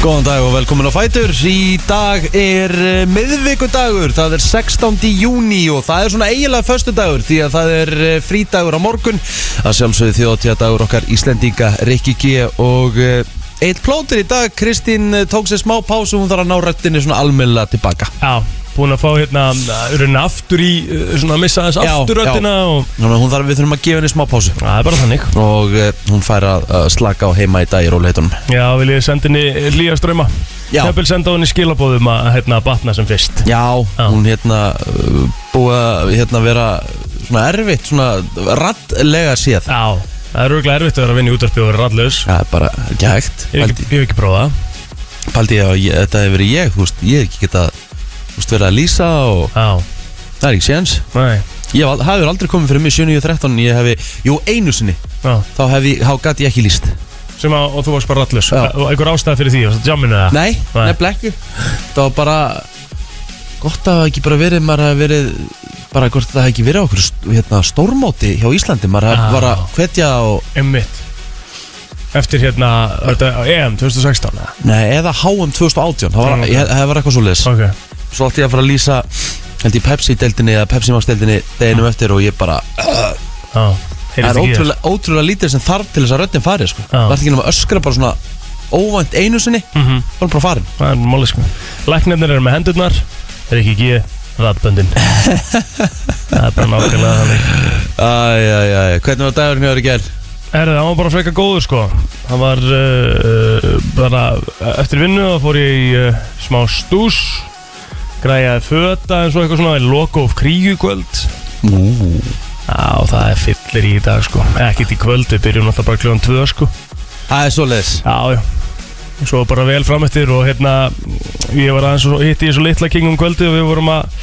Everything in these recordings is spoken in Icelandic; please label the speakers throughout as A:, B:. A: Góðan dag og velkomin á Fætur Í dag er eh, miðvikudagur Það er 16. júni og það er svona eiginlega föstudagur Því að það er eh, frídagur á morgun Það sjálfsögðu þjóðtíðadagur okkar Íslendinga Rikki G og eh, Eitt plótur í dag, Kristín eh, tók sér smá pásu Hún þarf að ná röttinni svona almilla tilbaka
B: Já, búin að fá hérna Urinn aftur í, uh, svona að missa aðeins
A: Já,
B: aftur röddina og
A: Þannig að hún þarf, við þurfum að gefa henni smá pásu
B: Já, það er bara þannig
A: Og eh, hún fær að að slaka á heima í dag í róleitunum
B: Já, vil ég senda henni líga ströma
A: Já.
B: Kjöpil senda henni skilabóðum að hérna batna sem fyrst
A: Já,
B: Já.
A: hún hérna uh, búið að hérna, vera svona erfitt, svona rattlega séð
B: Já, það er örgulega erfitt að vera að vinna í útvarpi og vera rallus
A: Það er bara ekki hægt
B: Ég hef ekki, ég hef ekki prófað það.
A: Paldi- Paldi ég að ég- þetta hefur verið ég, þú veist, ég hef ekki geta þú veist, verið að lýsa og
B: Já,
A: það er ekki séns
B: nei
A: Ég hef al- það hefur aldrei komið fyrir mig 7.13, ég hefi, jú, einu sinni
B: Já,
A: þá hef ég, þá gat ég ekki lýst
B: sem að, og þú varst bara rallus
A: Já.
B: Og einhver ástæð fyrir því, varst það jamminu það?
A: Nei,
B: Nei.
A: nefnilega ekki Það var bara gott að það hafi ekki bara verið, maður hafi verið bara hvort það hafi ekki verið á okkur hérna, stórmóti hjá Íslandi, maður hafi
B: Já.
A: bara hvetja og
B: Einmitt Eftir hérna, þetta, EM 2016 eða?
A: Nei, eða HM 2018 Það var,
B: Já, ok.
A: okay. ég, það var eitthvað svo leis
B: Ok,
A: Svo ætti ég að fara að lýsa held í Pepsi-deldinni eða Pepsi-max-deldinni deginum eftir og ég bara
B: já
A: Það
B: heyrðist
A: er
B: ekki í þér.
A: ótrúlega, ótrúlega lítið sem þarf til þess að röddinn fari sko.
B: Já.
A: Það er ekki nema að öskra bara svona óvænt einu sinni
B: Mhm.
A: Það er bara farin
B: Það er máli sko Læknirnir eru með hendurnar Það er ekki ekki ræðböndin Það er bara nákvæmlega þannig
A: Æjæjæj, hvernig var dagurinn hjá þér í gær?
B: Herðu, það var bara freka góður sko Það var uh, uh, bara Eftir vinnu þá fór ég í uh, smá stús Græjaði föta en svo eitthvað svona í Logo of kríu í kvöld
A: Ú,
B: Já, það er fyllir í dag sko Ekkert í kvöld, við byrjum alltaf bara kljóðan tvö sko
A: Það er svo leis
B: Já, já Svo bara vel framöttir og hérna Ég var aðeins og hitti ég svo litla king um kvöldi Og við vorum að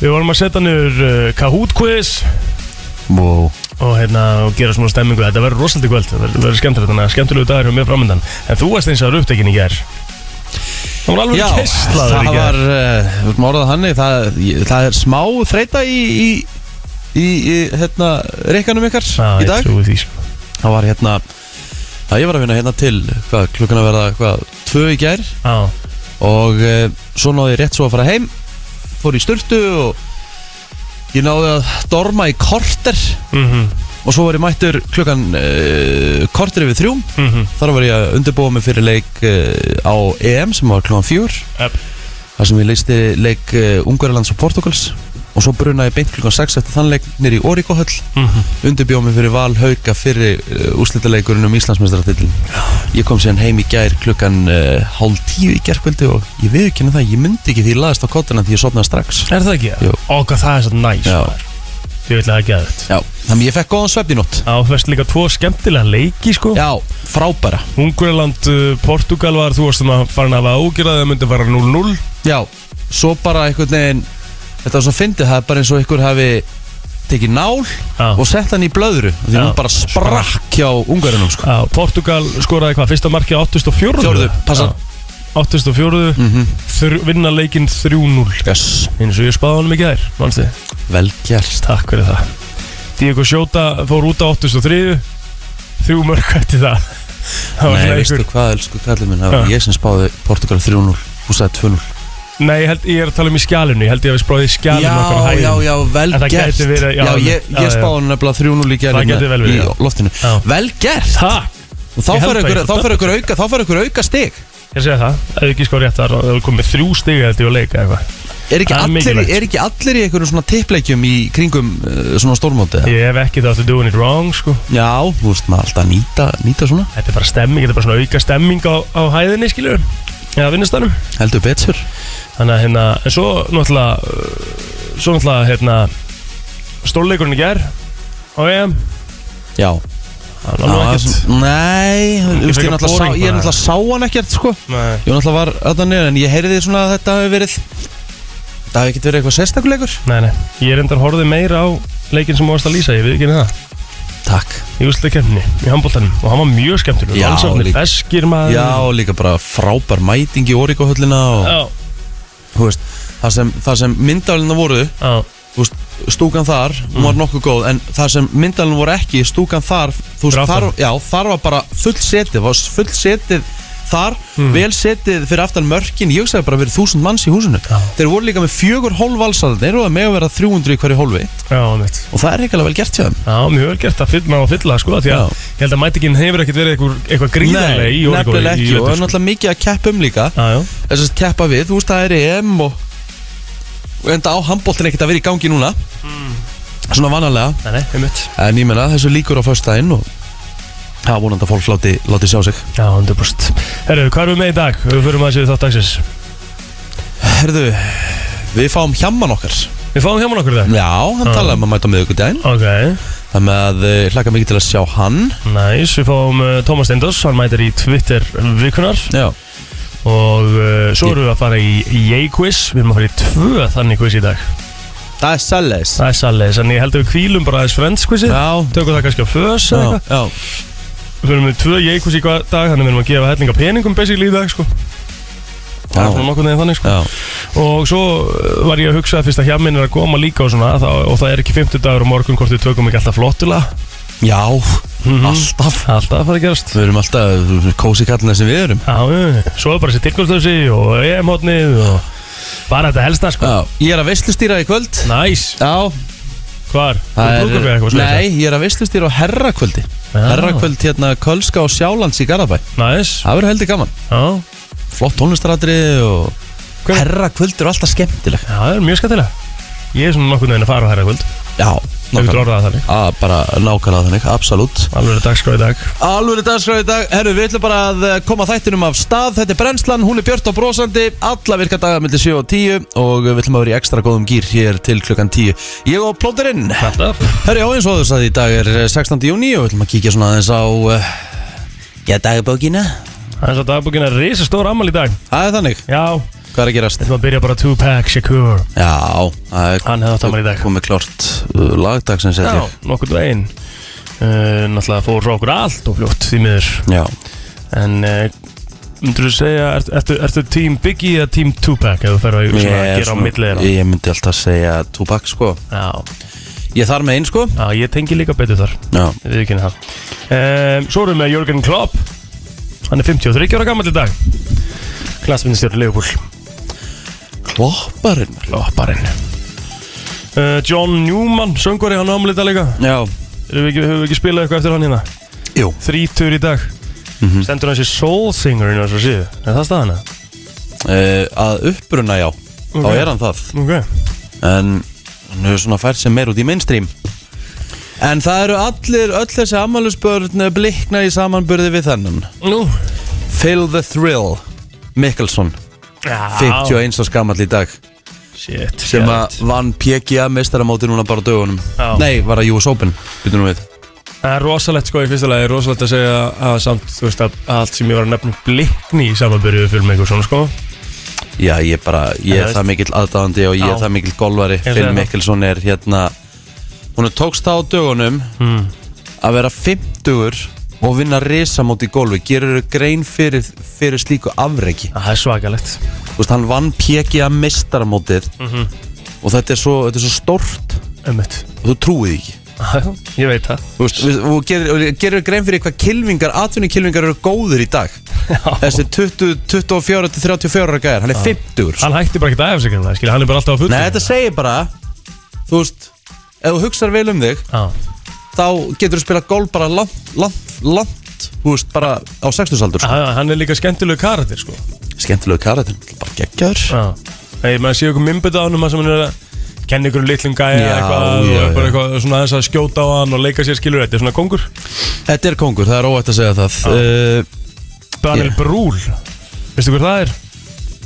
B: Við vorum að setja niður uh, Kahoot quiz
A: wow.
B: Og hérna og gera smá stemmingu Þetta verður rosaldi kvöld, það verður- verður skemmtilegt Þannig að skemmtilegu dagur hjá mér framöndan En þú varst eins og upptekinn í gær Það var alveg
A: Já,
B: kestlaður
A: það
B: í
A: var
B: gær
A: uh, við erum orðað hannig það, ég- það er smá þreita í, í, í, í hérna, reikanum ykkar
B: Já,
A: í dag
B: ég trúi því sko
A: það var hérna að ég var að vinna hérna til hvað, klukkan að verða hvað, tvö í gær
B: Já,
A: og e, svo náði ég rétt svo að fara heim fór í sturtu og ég náði að dorma í korter
B: mhm,
A: og svo var ég mættur klukkan e, korter yfir þrjú
B: mhm
A: þar var ég að undirbúa mig fyrir leik e, á EM sem var klukkan fjúr
B: Jep.
A: þar sem ég leisti leik e, Ungverjalands og Portugals og svo brunaði ég beint klukkan 6 eftir þann leik nýri í Oríkohöll
B: mhm.
A: undirbjóð mig fyrir val hauka fyrir uh, úslitaleikurinn um Íslandsmeistaratitlin ég kom síðan heim í gær klukkan uh, hálf tíu í gærkvöldi og ég viðkynna það, ég myndi ekki því ég laðist á kottina því ég sopnaði strax
B: Er það ekki?
A: Jú.
B: Ó, hvað það er svo næs
A: Já.
B: maður. Ég vil að það geða þetta
A: Já. þannig ég fekk góðan svefn í nótt
B: Á, þú veist líka tvo skemmtilega leiki sko
A: Já, frábæra
B: Ungurland, uh, Portugal var þú varst þannig að farin að hafa ágjörða það myndi fara 0-0
A: Já, svo bara einhvern veginn þetta var svo fyndið, það er bara eins og einhver hafi tekið nál
B: Já.
A: og sett hann í blöðru því
B: Já.
A: hún bara sprakk hjá ungarinnum sko.
B: Já, Portugal skoraði hvað, fyrsta markið á 84
A: Fjórðu, Mhm. passa.
B: Já, 84 mm vinna leikinn 3-0
A: yes.
B: eins og ég spáði honum í gær, mannstu
A: vel gert
B: Takk fyrir það Diego Sjóta fór út á 83 þrjú mörg eftir það Það var
A: Nei,
B: svona
A: veistu
B: einhver
A: hvað, elsku kallið minn það var
B: Já.
A: ég sem spáði Portugal 3-0 hún sagði 2-0
B: Nei, ég, held, ég er að tala um í skjálinu ég held ég að við spáði í skjálinu okkar á
A: Já,
B: hæðinni.
A: já, já, vel
B: En það
A: gert
B: gæti verið-
A: Já,
B: já,
A: ég,
B: já,
A: ég
B: já.
A: spáði hann nefnilega 300 líka
B: Það
A: hérna
B: gæti vel verið,
A: Í
B: já.
A: loftinu
B: Já.
A: Vel gert
B: Takk,
A: Og þá
B: Ég held
A: fær
B: að
A: ykkur,
B: ég-
A: þá fær ykkur auka Þá fær ykkur auka stig
B: ég segi það, ef ekki sko rétt það er komið þrjú stig held ég á leika eitthvað
A: Er ekki,
B: Það er
A: allir,
B: mikilvægt.
A: er ekki allir í einhverjum svona tippleikjum í kringum uh, svona stórmóti?
B: Ég hef ekki það to doing it wrong sko
A: Já, þú veist maður alltaf að nýta, nýta svona
B: Þetta er bara stemming, þetta er bara svona auka stemming á, á hæðinni skilur Eða vinnustanum
A: Heldur betur
B: Þannig að hérna, en svo náttúrulega uh, Svo náttúrulega hérna Stórleikurinn í gær Á EM
A: Já
B: Það var nú
A: Já,
B: ekkert
A: svona- Nei, þú veist, ég
B: frekar
A: er náttúrulega sá-
B: boring
A: ég er
B: bara.
A: náttúrulega sá hann ekkert sko
B: Nei,
A: Ég náttúrulega var öðan niður en ég heyrði svona að þetta hafi verið Það hafi ekkert verið eitthvað sérstakuleikur
B: nei, nei Ég er endar horfið meira á leikinn sem ást að lýsa Ég við ekki það
A: Takk
B: Í úslega kemni, í handbóltanum Og hann var mjög skemmtilegur
A: Já,
B: Allsafnir
A: líka.
B: feskir maður
A: Já, og líka bara frábær mæting í Oríkohöllina og
B: Já,
A: þú veist, það sem, það sem myndalina voru,
B: já,
A: þú veist, stúkan þar, hún var nokkuð góð, en það sem myndalina voru ekki, stúkan þar, þú veist,
B: Fyrir
A: þar,
B: aftan.
A: já, þar var bara full setið, var full setið þar Vel setið fyrir aftan mörkin Ég sagði bara verið þúsund manns í húsinu Þeir voru líka með fjögur hólf valsaldir Og það með að vera 300 í hverju hólfi
B: Já, mitt
A: Og það er reikala vel gert hjá þeim
B: Já, mjög vel gert að fylla og fylla sko, því að
A: Já.
B: ég held að mætingin hefur ekkert verið eitthvað, eitthvað gríðarlega í Oregon
A: nefnilega
B: í
A: ekki Og það
B: vetur,
A: er
B: sko.
A: náttúrulega mikið að keppa um líka
B: Já, já,
A: Þess að keppa við, þú veist það er EM Og, og enda á handbóltin ekkert að vera í gangi núna Hmm. Svona vanalega
B: nei, nei, einmitt
A: En ég menna þessu líkur á föstudaginn og það er vonandi að fólk láti, láti sjá sig
B: Já, 100% Herru, hvað erum við með í dag? Við förum að séu þátt dagsins
A: Herðu, við fáum hjamman okkar
B: Við fáum hjá mér okkur það
A: Já, hann
B: Já.
A: talaði um að mæta á miðvikudaginn
B: Ok,
A: Þannig að eh, ég hlakka mikið til að sjá hann
B: næs, við fáum uh, Tómas Steindos, hann mætir í Twitter vikunar
A: Já,
B: og uh, svo erum við að fara í J-quiz, við erum að fara í tvö þannig quiz í dag
A: það er sælis
B: Það er særlega, þannig ég held að við kvílum bara aðeins Friends-quizið
A: Já,
B: Tökum það kannski á fös
A: já,
B: eða eitthvað
A: já
B: Við erum með tvö J-quiz í hver dag, þannig við erum að gefa hellinga peningum basically í dag sko Það er
A: Já.
B: svona nokkuð neginn þannig sko
A: Já,
B: Og svo uh, var ég að hugsa að fyrst að hjá minn er að koma líka og svona þá, Og það er ekki 50 dagur og morgun hvort við tökum ekki alltaf flottulega
A: já Hmm.
B: Mhm.
A: alltaf
B: Alltaf að fara að gerast
A: Við erum alltaf kósi kallina sem við erum
B: Já, já, já. svo er bara þessi tilkvæmstöðsi og EM-hotnið og bara þetta helsta sko
A: Já, ég er að veistlustýra í kvöld
B: Næs,
A: Já,
B: hvar?
A: það
B: Þú brúkum við eitthvað svoleiðis,
A: Nei, ég er að veistlustýra á herrakvöldi
B: Já.
A: Herrakvöld hérna Kölska og Sjálands í Garðabæ
B: eða? Næs,
A: Það verður heldur gaman
B: já
A: flott tónlistaratrið og
B: Hver-
A: herra kvöldur er alltaf skemmtileg
B: Já, það er mjög skattilega Ég er svona nokkurn veginn að fara á herra kvöld
A: já,
B: Ef þú
A: nákvæmlega
B: orðaði það þannig
A: Að bara nákvæmlega þannig, absolutt
B: Alveg dagskrá í dag
A: Alvöru dagskrá í dag, herru, við ætlum bara að eh, koma þættinum af stað Þetta er brennslan, hún er björt og brosandi Alla virka dagar mellir 7 og 10 Og við ætlum að vera í ekstra góðum gýr hér til klukkan 10 Ég og plóterinn
B: Alltaf
A: Herru, já, eins og þú sagði í dag er eh, 16. júni Og við ætlum að kíkja svona aðeins á eh, Já, dagabókina
B: Það er svo dagbúkin er risastór ammal í dag
A: Það er þannig,
B: Já,
A: hvað er að gerast?
B: þetta var að byrja bara Tupac Shakur
A: Já, það er
B: Hann hefði átt afmæli í dag.
A: Komið klart uh, lagdagsins held
B: Já,
A: ég.
B: nokkurn veginn uh, Náttúrulega fór frá okkur allt og fljótt því miður
A: Já,
B: En uh, myndur þú segja, ert, ertu, ertu tím Biggie eða tím Tupac ef þú ferð að svona,
A: er
B: gera á milli þeirra
A: Ég myndi alltaf segja Tupac sko
B: Já,
A: Ég þar með einn sko
B: já, ég tengi líka betur þar
A: Já,
B: Við ekki það um, Svo erum við með Jörgen Klopp Hann er 53 ára gammal í dag Klassmyndistjórn Leopold
A: klopparinn
B: Klopparinn uh, John Newman, söngvari, hann ámlið þetta líka
A: Já,
B: Erum við ekki, Höfum við ekki spilað eitthvað eftir hann hérna?
A: jú
B: Þrítur í dag
A: Mhm.
B: Stendur hann sér soul singer inn á þessu síðu Er það staðana?
A: uh, Að uppruna já, þá
B: Ok.
A: er hann það
B: Ok
A: En hann hefur svona fært sem meir út í mainstream En það eru allir, öll þessi amalusbörn blikna í samanburði við þennan
B: Nú
A: Phil the Thrill Mikkelson, 51 á skamall í dag
B: Shit
A: sem að vann PGA mestaramóti núna bara á dögunum
B: Já.
A: Nei, var að US Open, byrjum við
B: Það er rosalegt sko í fyrsta lagi Rosalegt að segja að samt Þú veist að allt sem ég var að nefna um Blikni í samanbyrju Fyrir mig og svona sko
A: Já, ég bara, ég
B: En það
A: er það mikill aðdáðandi og ég
B: Já.
A: er það mikill golvari
B: það
A: Finn
B: er það.
A: Mikkelsson er hérna Hún er tókst það á dögunum að vera 50 og vinna risamót í golfi Gerur grein fyrir, fyrir slíku afreiki
B: Það er svakalegt
A: Þú veist, hann vann PGA mestaramótið og þetta er, svo, þetta er svo stort
B: Ömmit
A: og þú trúið ekki
B: Ég veit það
A: Þú veist, við- og gerur, og gerur grein fyrir hvað kilvingar, atvinnukilvingar eru góður í dag
B: Já.
A: Þessi 20, 24 til 34 ára gæðar, hann er 50 sko.
B: Hann hætti bara ekki að efsa ekki Skilja, hann er bara alltaf á fullu
A: Nei, þetta segir bara Þú veist, ef þú hugsar vel um þig
B: Já
A: þá getur þú spilað golf bara langt, langt, langt Þú veist, bara á 60 aldur sko.
B: Já, já, Hann er líka skemmtilegu karatir sko
A: Skemmtilegu karatinn, bara geggjaður
B: Já Þegar maður sé okkur mymbið á hann maður sem hann er að kenna ykkur um litlum gæja
A: Já,
B: eitthvað og
A: já,
B: bara
A: já.
B: eitthvað svona aðeins að skjóta á hann og leika sér skilur þetta er svona kongur
A: Þetta er kongur, það er óætt að segja það uh,
B: Daniel
A: Ég-
B: Brúhl Veistu hver það er?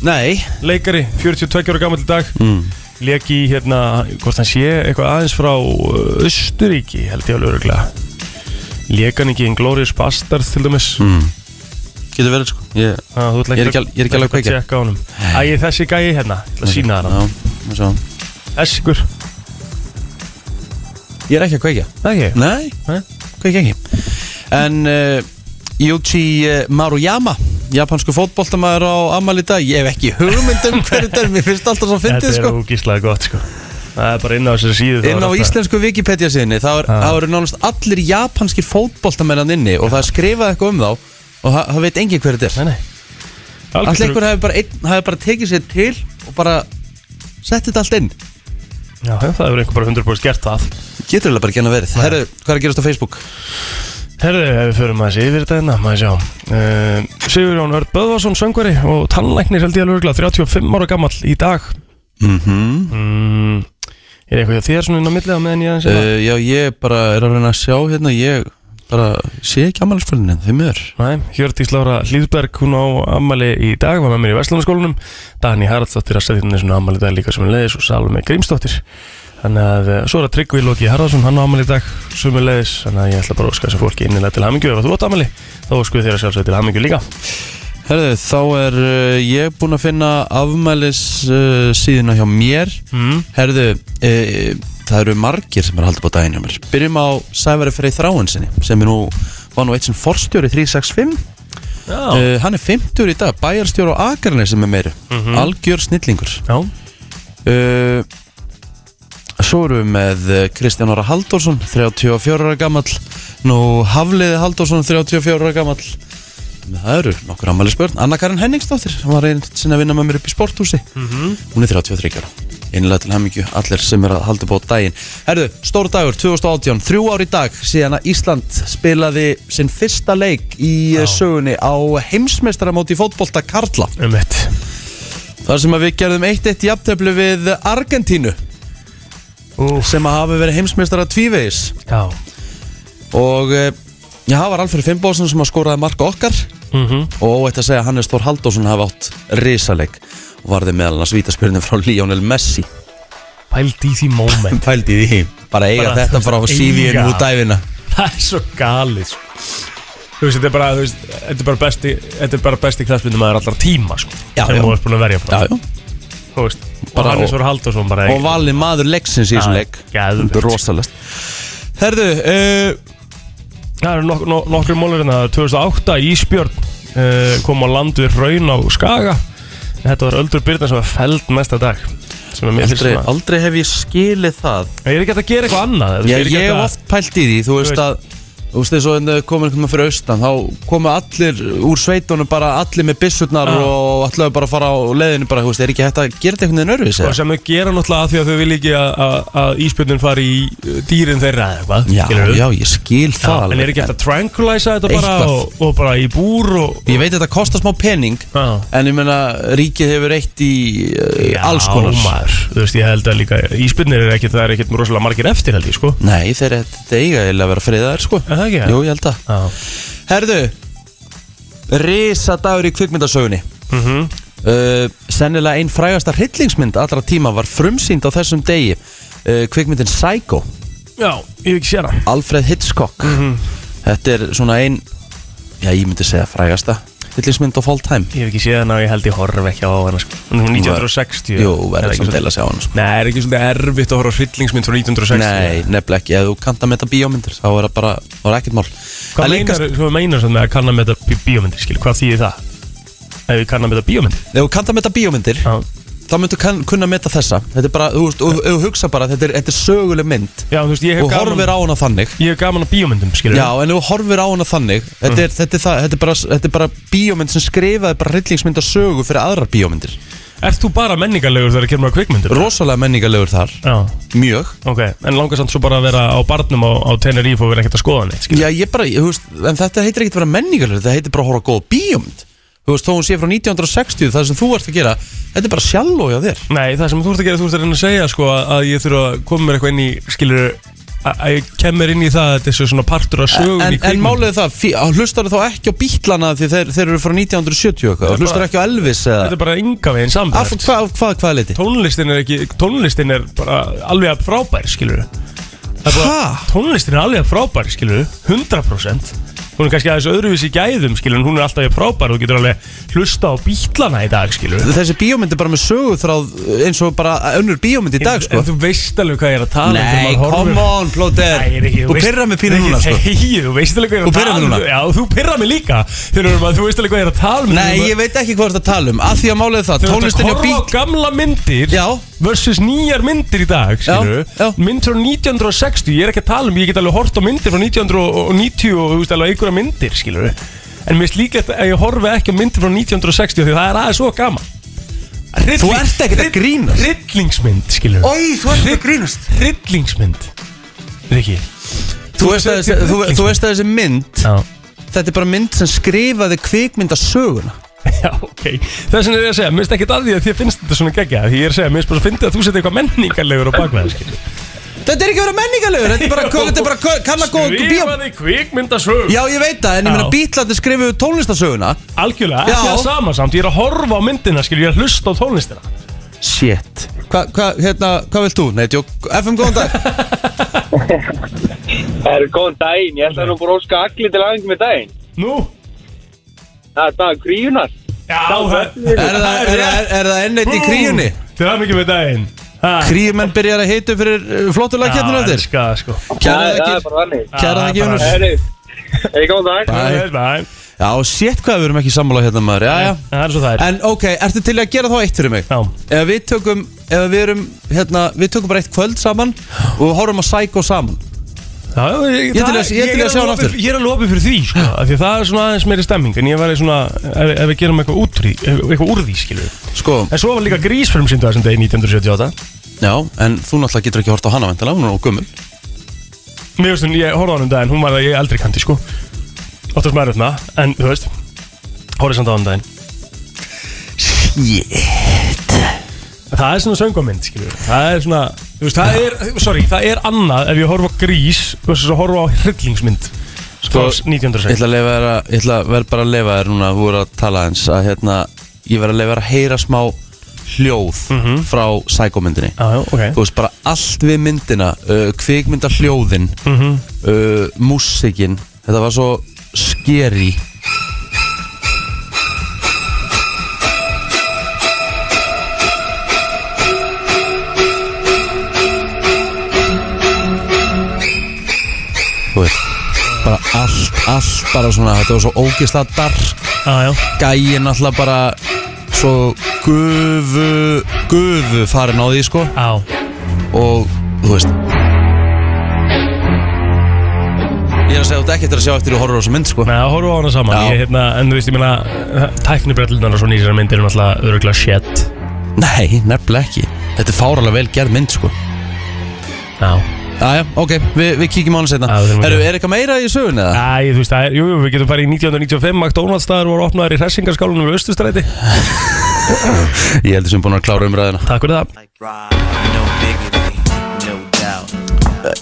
A: Nei,
B: Leikari, 42 ára gammal í dag mm. Leki hérna, hvort hann sé eitthvað aðeins frá uh, Östuríki held ég alveg öruglega Lekan ekki Inglourious Bastards til dæmis mm.
A: getur verið sko Ég,
B: ah,
A: Ég er ekki al- ég er ekki alveg að kveikja.
B: tjekka á honum Æ, þessi gæi hérna, ég ætla að sína hann
A: Já, við sjáum.
B: Þessi ykkur,
A: Ég er ekki að kveikja
B: það ekki?
A: Nei,
B: Nei.
A: kveikja ekki En uh, Yuji eh, Maruyama Japansku fótboltamaður á Amal í dag Ég hef ekki hugmynd um hverju þetta er Mér finnst alltaf svo fyndið
B: Þetta
A: sko
B: er ógíslega gott sko Það er bara inn á þessari síðu
A: Inn
B: þá er
A: á
B: þetta-
A: íslensku Wikipedia síðinni þá er- þá eru nánast allir japanskir fótboltamennan inni og það er skrifað eitthvað um þá og það það veit engin hver þetta er
B: Nei, nei
A: Allt einhver hafi bara, einn, hafi bara tekið sér til og bara sett þetta allt inn
B: Já, já, það hefur einhver bara 100% gert það
A: Getur alveg bara genna verið Herru, hvað er að gerast á Facebook?
B: Herðu, ef við förum aðeins yfir þetta hérna, maður sjá uh, Sigur Jón Örd Böðvarsson, söngveri og tannlæknir held ég alveg örugglega, 35 ára gamall í dag
A: Mhm
B: mm, Er eitthvað hjá þér svona inn á millið á meðan ég aðeins uh,
A: Uh, já, ég bara er að reyna að sjá hérna, ég bara sé ekki hérna, ammælisfölinin, þau mör.
B: Næ, Hjördís Lára Hlýðberg, hún á ammali í dag, var með mér í Vestlunarskólanum Dani Haraldsdóttir að setja hérna svona ammali í dag líka sem leiðis og Salome Grímsdóttir Þannig að eh, svo er að Tryggvi Lóki Harðarsson, hann á ammali í dag sem leiðis Þannig að ég ætla bara að óska þessu fólki innilega til hamingju ef þú átt ammali Þá óskuðu þér að sjálfsögðu til hamingju líka
A: Herðu, þá er uh, ég búinn að finna afmælis uh, síðuna hjá mér.
B: mm.
A: Herðu, uh, það eru margir sem er haldið bá daginn hjá mér. Byrjum á Sævari Frey Þráinsinni, sem er nú, var nú eitt sem forstjóri 365.
B: Já,
A: Uh, hann er 50 í dag, bæjarstjóri á Akarni sem er meiri.
B: Mhm.
A: Algjör snillingur.
B: já,
A: Uh, Svo erum við með eh, Kristján Ára Halldórsson, 34 ára gamall Nú Hafliði Halldórsson, 34 ára gamall Það eru nokkur ammæli spörn Anna Karin Henningsdóttir, sem var einn sinna að vinna með mér upp í sporthúsi Hún er 33 ára Einlega til hemmingju, allir sem er að halda bóð daginn Herðu, stór dagur, 2018, þrjú ár í dag Síðan að Ísland spilaði sinn fyrsta leik í Já. sögunni Á heimsmeistaramóti fótbolta Karla
B: um mitt
A: Þar sem að við gerðum 1-1 jafnteflu við Argentínu
B: Úf,
A: sem að hafa verið heimsmeistara tvívegis
B: já
A: og eh, já, það var Alfred Finnbóðsson sem að skoraði marka okkar
B: mm
A: og óætt að segja að Hannes Þór Halldórsson hafa átt risaleg og varði meðal annars vítaspyrnum frá Lionel Messi
B: Pælt í því moment
A: Pældi því, bara eiga
B: Bara,
A: þetta
B: þú
A: frá
B: veist,
A: síðinu
B: eiga.
A: út dæfina
B: Það er svo galið sko. Þú veist, þetta er bara, þú veist, þetta er bara besti Þetta er bara besti knastbyrnum maður allra tíma sko,
A: Já,
B: Sem
A: já.
B: þú veist búin að verja frá
A: já, já.
B: Þú veist, og
A: Bara-
B: Hannes voru Halldórsson bara
A: og valið maður leiksins í þessum
B: Já,
A: leik
B: geðveikt.
A: Þetta er rosalegt Herðu, uh,
B: Það eru nok nok nokkur mólurinn að 2008 Ísbjörn uh, kom á land við Raun á Skaga En Þetta var Öldur Byrna sem var feld næsta dag Sem er mér fyrst
A: aldrei,
B: svona
A: aldrei hef ég skilið það
B: Ég er ekki hægt að gera eitthvað annað þú veist,
A: Já,
B: er
A: ég
B: ekki hægt
A: hef
B: að-
A: oft pælt í því, þú veist
B: veist.
A: að Þú veist þess að komin einhvern veginn fyrir austan Þá komu allir úr sveitunum bara allir með byssurnar
B: Já.
A: og allir bara að fara á leiðinu bara, þú veist, er ekki hægt að gera þetta einhvern veginn örfis
B: Og
A: eða?
B: sem þau gera náttúrulega að því að þau vilja ekki að, að, að íspjörnun fari í uh, dýrin þeirra eða eitthvað
A: Já,
B: skilurðu?
A: já, ég skil það
B: En er
A: alveg
B: ekki hægt að tranquiliza þetta bara
A: Eitthvað.
B: og, og bara í búr og
A: Ég veit að þetta kostar smá pening
B: Já.
A: En ég meina, ríkið hefur eitt í uh, alls konar
B: maður, Þú veist, ég held að líka íspyrnir er ekkert, það er ekkert rosalega margir eftir held ég, sko
A: Nei, þeir þetta eiga eiginlega að vera friðar, sko
B: Er það ekki?
A: Jú, ég held að
B: Já
A: Herðu, risadagur í kvikmyndasögunni
B: mm
A: Uh, sennilega einn frægasta hryllingsmynd allra tíma var frumsýnd á þessum degi uh, kvikmyndin Psycho
B: Já, ég hef ekki séð það
A: Alfred Hitchcock þetta er svona einn já ég myndi segja frægasta hryllingsmynd of all time
B: Ég hef ekki séð hana og ég held ég horf ekki á hana, sko Hún er frá 1960
A: jú, verður ekki að
B: svolítið-
A: deila sig á hann sko.
B: Nei, er ekki svolítið erfitt að horfa á hryllingsmynd frá 1960
A: nei, nefnilega ekki, ef þú kanta með þetta bíómyndir þá er það bara, þá er ekkert mál
B: Hvað meinar, hvað meinar það með að kanna með þetta bí- bíómyndir, skil, hvað þýðir það? Ef ég kanna með þetta bíómyndir
A: ef þú kanta með þetta bíómyndir
B: Já,
A: þá myndu kann, kunna með þetta þessa þetta er bara, þú veist, og og þú hugsa bara þetta er, þetta er söguleg mynd
B: já þú veist, ég hef
A: og horfir
B: gaman,
A: á hana þannig
B: ég hef gaman á bíómyndum, skil
A: Já, en ef þú horfir á hana þannig Þetta er, þetta er, það, þetta er, bara, þetta er bara bíómynd sem skrifaði bara hryllingsmynda sögu fyrir aðrar bíómyndir
B: Ert þú bara menningarlegur þegar það kemur að kvikmyndir?
A: Rosalega menningarlegur þar,
B: Já,
A: mjög
B: ok, en langar samt svo bara að vera á barnum á, á Tenerife og vera ekkert að skoða neitt, skil
A: Já, ég bara, ég, þú veist, en þetta heitir ekkert að vera menningarlegur Þetta heitir bara að horfa á góða bíómynd Þú veist, þó hún sé frá 1960, það sem þú ert að gera Þetta er bara sjálfói á þér
B: Nei, það sem þú ert að gera, þú ert að reyna að segja sko að- að ég þurfa að koma mér eitthvað inn í, skilur að að ég kem mér inn í það að þetta er svo svona partur af sögun
A: En,
B: í kvikmynd
A: en málið er það, fí- hlustar þá ekki á bítlana því þeir, þeir eru frá 1970 og eitthvað Hlustar ekki á Elvis
B: Þetta
A: eða
B: er bara ynga veginn
A: Af
B: sambært
A: hvað, hvað, hvað leiti?
B: Tónlistin er ekki, tónlistin er bara alveg að frábær, skilur
A: Hæ?
B: Tónlistin er alveg að frábær, skilur 100% Hún er kannski aðeins öðruvísi í gæðum, skilur En hún er alltaf að frábær, þú getur alveg hlusta á bítlana í dag, skilur
A: Þessi bíómynd er bara með söguþráð eins og bara önnur bíómynd í dag sko.
B: En þú veist alveg hvað ég er að tala um þegar
A: Nei,
B: maður horfir-
A: come on, Plóter
B: Nei, ég er ekki
A: Þú pyrra mig pínu núna, sko
B: Nei, þú veist alveg hvað ég
A: Þú
B: er að
A: pirrar
B: tala
A: mig
B: um
A: núna.
B: Já, þú pyrra mig líka Þegar við erum að þú veist alveg hvað ég er að tala um
A: Nei, ég veit ekki hvað þetta tala um Að því að málið er það, tónlistin hjá
B: Þegar við erum að horfa á
A: bíl
B: gamla myndir
A: Já.
B: Versus nýjar myndir í dag, skilur
A: já.
B: Mynd frá 1960, ég er ekki að tala um Ég get alveg hort á myndir frá 1990 Og, og, og, og, og, og, og, og, og einhverja myndir, skilur En mér finnst líklegt að ég horfi ekki á myndir frá 1960 Því það er aðeins svo gaman Rilling,
A: Þú ert ekkert að grínast. Oh.
B: Rillingsmynd, skilur
C: Oi, þú ert að grínast
B: Rillingsmynd Riki
A: Þú veist að þessi- þú- þú veist að þessi mynd
B: Já
A: Þetta er bara mynd sem skrifaði kvikmyndasöguna
B: Já, ok. Þess vegna er ég að segja, minnst ekki að því að þér finnst þetta svona geggja. Því ég er að segja, minnst bara að finna að þú setja eitthvað menningarlegur á bakveða, skilur.
A: Þetta er ekki verið menningarlegur, þetta er bara, þetta er bara kannan góð bíó
B: Skrifaði kvikmyndasög.
A: Já, ég veit það, en ég meina
B: Já.
A: bítlandi skrifuðu tónlistasöguna
B: Algjörlega, ekki
A: Já.
B: það sama samt. Ég er að horfa á myndina, skilur, ég er að hlusta á tónlistina.
A: Shit Hvað, hva, hérna, hvað vilt þú? Nei, tjók, FM góðan dag
D: Það eru góðan daginn, ég ætla nú bara að óska allir til aðeins með daginn.
B: Nú?
D: Það er dag gríunar.
B: Já, það
A: Er það, er, er, er það enn eitt í kríunni?
B: Til það mikið með daginn.
A: Kríumenn byrjar að heita fyrir eh, flottulega
B: Já,
A: eftir
B: elska það, sko.
A: hérna, Kæra
D: það, það er
A: þakkir,
D: bara þannig.
A: kæra þakkir, Jónus
D: Herri, hei góðan dag.
A: Bæ.
B: Bye. Bye.
A: Já, sétt hvað við erum ekki sammála hérna maður Já, já
B: Það er svo það er.
A: En ok, ertu til að gera þá eitt fyrir mig?
B: Já.
A: Ef við tökum, ef við erum, hérna, við tökum bara eitt kvöld saman og við horfum að Psycho saman
B: Já, já,
A: Ég til
B: það-
A: að- ég til
B: er
A: að sjá hann
B: alveg opið-
A: aftur.
B: Ég er alveg opið fyrir því sko, af Því að það er svona aðeins meiri stemming En ég væri svona, ef, ef við gerum eitthvað út úr því Eitthvað úr því, skilur við
A: Sko,
B: En svo var líka grísfilm síndu þessum degi 1978
A: já, en þú náttúrulega getur ekki hort á hana vendilega, hún er nóg gummul
B: Mér veist, ég horfði á hann um daginn Hún var að ég eldri kanti, sko Óttast maður öfna, en þú veist Horfði samt á hann um daginn
A: Yeah
B: Það er svona söngvamynd, skilur við Það er svona, þú veist, það er Sorry, það er annað ef ég horfa á grís Versus að horfa á hryllingsmynd Sko,
A: Sko, Ég
B: 1978
A: ætla að leifa þér að, ég ætla að verð bara að leifa þér núna, þú voru að tala eins að hérna, ég verð að leifa þér að heyra smá hljóð frá sækomyndinni
B: Já, já,
A: Þú
B: ok
A: veist bara allt við myndina, uh, kvikmynda hljóðin, uh, músikin, þetta var svo skeri Þú veist, bara allt, allt bara svona, þetta var svo ógislega dark
B: Já, já,
A: gæin alltaf bara svo gufu gufu farin á því sko
B: já
A: og þú veist ég er að segja þú ert ekki eftir að sjá eftir þú horfur á þessu mynd sko
B: Nei, það horfum við á hana saman
A: Já.
B: ég, hérna, En þú veist, ég meina Tæknibrellunar og svona í þessari myndir er náttúrulega öruglega shit
A: nei, nefnilega ekki þetta er fáralega vel gerð mynd sko
B: Já
A: aðja, ok, Vi, við kíkjum á hann setna
B: Já, við þurfum að
A: Heru,
B: gera.
A: er eitthvað meira í sögun eða?
B: Æ, þú veist, það er, jú, jú, við getum farið í 1995 McDonalds staðar voru opnaðar í hressingarskálunum við Östustræti
A: ég heldur sem búin að klára umræðina
B: Takk fyrir það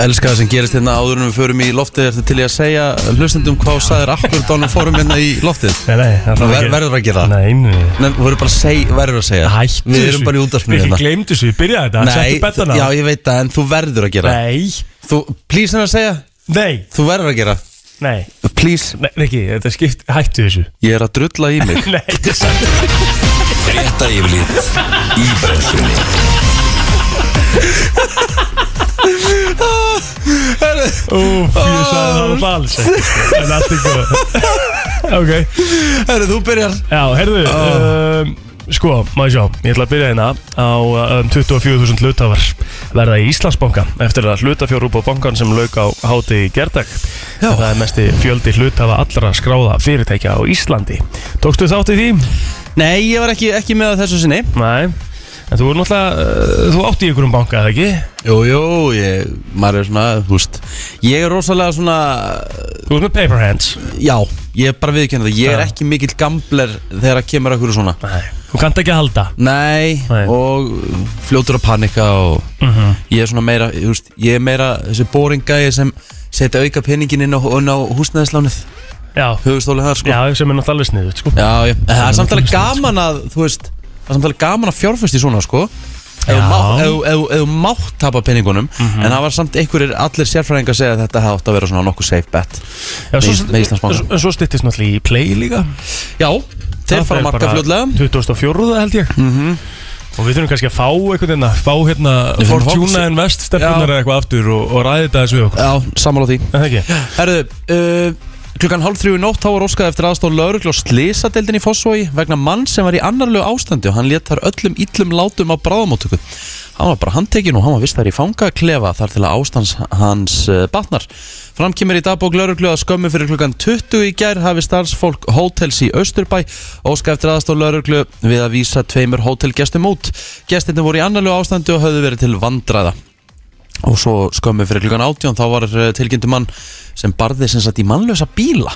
A: elska það sem gerist hérna áður en við förum í loftið ertu til ég að segja hlustendum hvað sæðir akkur dánum fórum hérna í loftið
B: Nei, nei, það
A: Ver- verður að gera það.
B: Nei, nei, nei
A: Nei, við erum bara að segja, verður að segja
B: Hættu
A: Við erum bara í útarsminu
B: Ekki gleymdu þessu, ég byrjaði þetta Settu bettana
A: já ég veit það, en þú verður að gera
B: Nei,
A: Þú, please hann að segja,
B: nei,
A: þú verður að gera
B: nei
A: Please,
B: Nei, ekki, þetta skipt, hættu þessu
A: ég er að drulla í mig
B: Nei, þetta er satt
E: Frétta yfirlit í brennslunni
B: Úf, ég sagði það alveg alls ekki, sko, En allt ekki Ok
A: Herru, þú byrjar
B: Já, heyrðu um, Sko, maður sjá, ég ætla að byrja hérna á um, 24.000 hlutafar verða í Íslandsbanka eftir að hlutafjórúpa bankan sem lauk á háti í gerdag.
A: Já.
B: Það er mesti fjöldi hlutafa allra skráða fyrirtækja á Íslandi. Tókstu þátt í því?
A: Nei, ég var ekki, ekki með að þessu sinni
B: Nei. En þú er náttúrulega, uh, þú átt í ykkur um banka, eða ekki?
A: Jú, jú, ég, maður er svona, þú veist Ég er rosalega svona,
B: Þú ert með paper hands.
A: já, ég er bara viðkennið það Ég er
B: Já.
A: ekki mikill gambler þegar að kemur að hverju svona
B: Nei. Þú kannt ekki að halda.
A: Nei, Mhm.
B: Nei.
A: og fljótur að panika og ég er svona meira, þú veist, ég er meira þessi boringa sem setja auka peningin inn á, inn á húsnæðislánið
B: Já.
A: höfustólið þar sko
B: Já, sem er náttúrulega alveg sniðut, sko.
A: já, já. En það er samtalið gaman að þú veist, það er samtalið gaman að fjárfust í svona sko ef þú
B: Já. Mhm.
A: mátt- ef þú- ef þú- ef þú mátt tapa peningunum en það var samt einhverjir allir sérfræðingar að segja að þetta hafði átt að vera svona nokkuð safe bet
B: Já,
A: með,
B: svo,
A: með Íslandsbanka
B: en svo styttist náttúrulega í play líka.
A: Já, þeir
B: Það
A: fara
B: fer
A: marga
B: bara
A: fljóðlega
B: 2004 held ég Og við þurfum kannski að fá einhvern veginn að fá hérna
A: Við þurfum að fá-
B: Fortuna Invest stefnunar
A: Já.
B: eða eitthvað aftur og, og ræði þetta þessu við okkur
A: Já, sammála því
B: En það ekki?
A: Herðu, uh, Klukkan hálf þrjú í nótt þá var óskað eftir aðstóð laurugl og slisadeildin í Fossvogi vegna mann sem var í annarlegu ástandi og hann létt þar öllum illum látum á bráðamóttöku. Hann var bara handtekinn og hann var vist þar í fangaklefa þar til að ástans hans eh, batnar. Fram kemur í dagbók lauruglu að skömmu fyrir klukkan 20 í gær hafi starfsfólk hótels í Austurbæ óskað eftir aðstóð lauruglu við að vísa tveimur hótelgestum út. Gestinni voru í annarlegu ástandi og höfðu verið til vandræða og svo skömmu fyrir klukkan átjón þá var tilgjöndu mann sem barði sem sagt í mannlösa bíla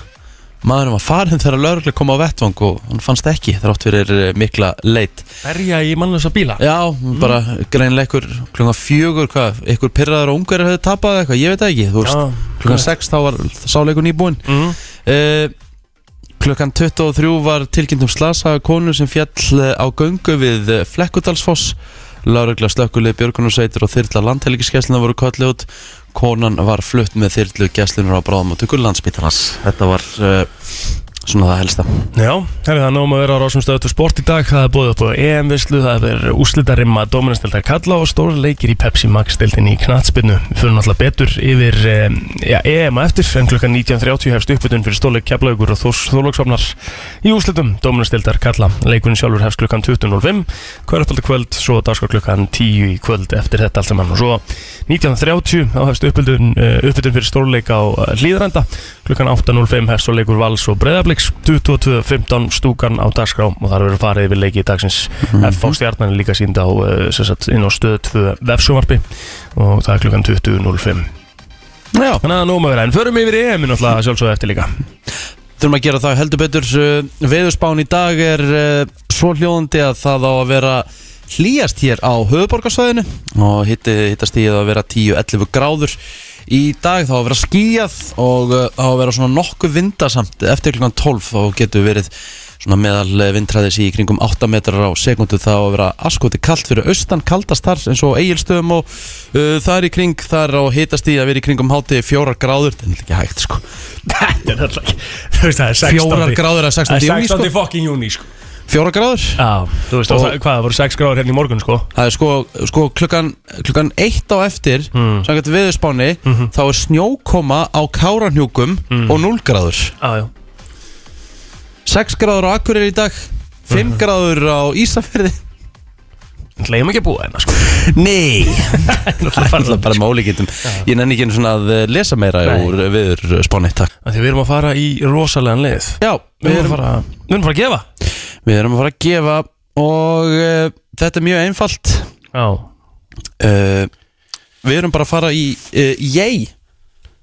A: maðurinn var farinn þegar lögreglu kom á vettvang og hann fannst ekki þrátt fyrir eh, mikla leit
B: Berja í mannlösa bíla
A: já, bara greinilega ykkur klukkan fjögur, hvað, ykkur pyrraður og ungarir höfðu tapað eða eitthvað, ég veit það ekki þú veist,
B: Já,
A: klukkan sex þá var sáleikur nýbúinn
B: mm.
A: Eh, Klukkan 23 var tilkynnt um slasaða konu sem fjall eh, á göngu við eh, Flekkudalsfoss. Láregla slökkuleið Björgunarsveitir og þyrla landhelgiskessluna voru kallið út. Konan var flutt með þyrlu gesslunar á bráðum og tökur landsbytarnas. Þetta var uh, svona það helsta.
B: Já, herri það er nóg með að vera á Rásum stöðu sport í dag, það er búið upp á EM-vislu það er úslitarimma Dóminastildar Kalla og stóra leikir í Pepsi Max-dildin í Knatsbyrnu, við fyrir náttúrulega betur yfir um, ja, EM á eftir en klukkan 19.30 hefst uppbytun fyrir stóleik Keflaugur og Þórs Þórlóksvapnar í úslitum Dóminastildar Kalla, leikurinn sjálfur hefst klukkan 20.05, hverjafaldi kvöld svo dagskar klukkan 10 í kvöld eftir þetta allt saman og svo 19.30 þá hefst uppbytun, uppbytun fyrir stóleik á Hlýðranda klukkan 8.05 hefst svo leikur Vals og Breiðabliks 22.15 stúkan á dagskrá og þar verður farið yfir leiki í dagsins mm -hmm. FH Stjarnan er líka sínd á eh, sem sagt, inn á stöð 2 vefsumarpi og það er klukkan 20.05
A: Já,
B: þannig að það er nóg með að vera en förum yfir EM -ið náttúrulega sjálfsögðu eftir líka
A: þurfum að gera það heldur betur. eh, Veðurspán í dag er uh, svo hljóðandi að það á að vera hlýjast hér á höfuborgarsvæðinu og hitti, hittast í að vera 10-11 gráður í dag þá á að vera skýjað og eh, þá á að vera svona nokkuð vindasamt eftir klukkan 12 þá getur verið svona meðal vindræðis í kringum 8 metrar á sekundu þá á að vera askoti kalt fyrir austan kaldast þar eins og eigilstöðum og uh, þar í kring þar á að hittast í að vera í kringum hátti 4 gráður, þetta er ekki hægt sko
B: Þetta er alltaf ekki Þú veist það er 16.
A: Fjórar gráður að 16.
B: Það er
A: júní, sko.
B: 16. fucking júni sko.
A: 4 gráður
B: Já, þú veist
A: Og-
B: og... hvað, það voru 6 gráður hérna í morgun sko
A: Það er sko, sko klukkan, klukkan eitt á eftir
B: Hmm.
A: mm. samkvæmt viðurspáni
B: Mhm.
A: þá er snjókoma á káranhjúkum
B: Hmm.
A: og 0 gráður
B: Já, já
A: 6 gráður á Akureyri í dag 5
B: Hmm.
A: gráður á Ísafjörði
B: Leifum ekki að búa hérna sko
A: Nei,
B: Náttúrulega
A: það er
B: farið-
A: bara með ólíkittum Ég nenni ekki einu svona að eh, lesa meira
B: Nei.
A: úr viðurspáni, takk
B: Af Því við erum að fara í rosalega leið
A: Já,
B: Við erum að fara, við erum að fara að gefa
A: við erum að fara að gefa og uh, þetta er mjög einfalt
B: Já
A: uh, Við erum bara að fara í uh, Yay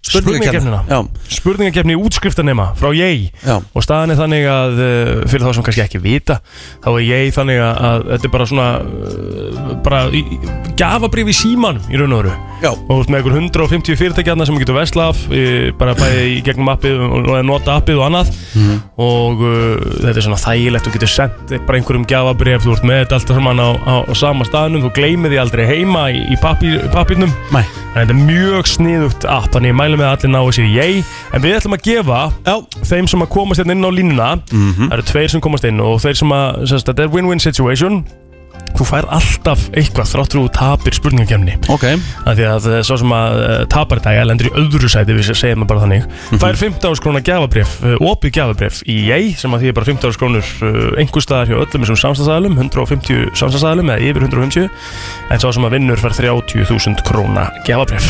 B: Spurningakeppnina.
A: Já,
B: Spurningakefni útskriftanema frá ég
A: já
B: Og staðan er þannig að uh, fyrir þá sem kannski ekki vita Þá er ég þannig að, að þetta er bara svona uh, Bara í, í- gafabrif í síman í raun og veru
A: Já,
B: og þú ert með einhver 150 fyrirtækjarna sem þú getur vesla af eh, bara bæði í gegnum appið og og nota appið og annað og uh, þetta er svona þægilegt þú getur sendt bara einhverjum gjafabref þú ert með þetta allt saman á, á, á sama staðnum þú gleymið því aldrei heima í, í pappirnum
A: mæ
B: en þetta er mjög sniðugt app þannig ég mælu með að allir ná þessi ég en við ætlum að gefa
A: Já,
B: þeim sem að komast hérna inn á línuna það eru tveir sem komast inn og þeir sem að sem sagt, þetta er win-win situation þú fær alltaf eitthvað þráttur og tapir spurningakemni
A: ok
B: af því að eh, svo sem að eh, tapar í dag eða lendur í öðru sæti við segjum það bara þannig fær 15 krónar gafabrif eh, opið gafabrif í ég sem að því er bara 15 krónur einhver staðar hjá öllum þessum samstagsæðalum 150 samstagsæðalum eða yfir 150 en svo sem að vinnur fær 30.000 krónar gafabrif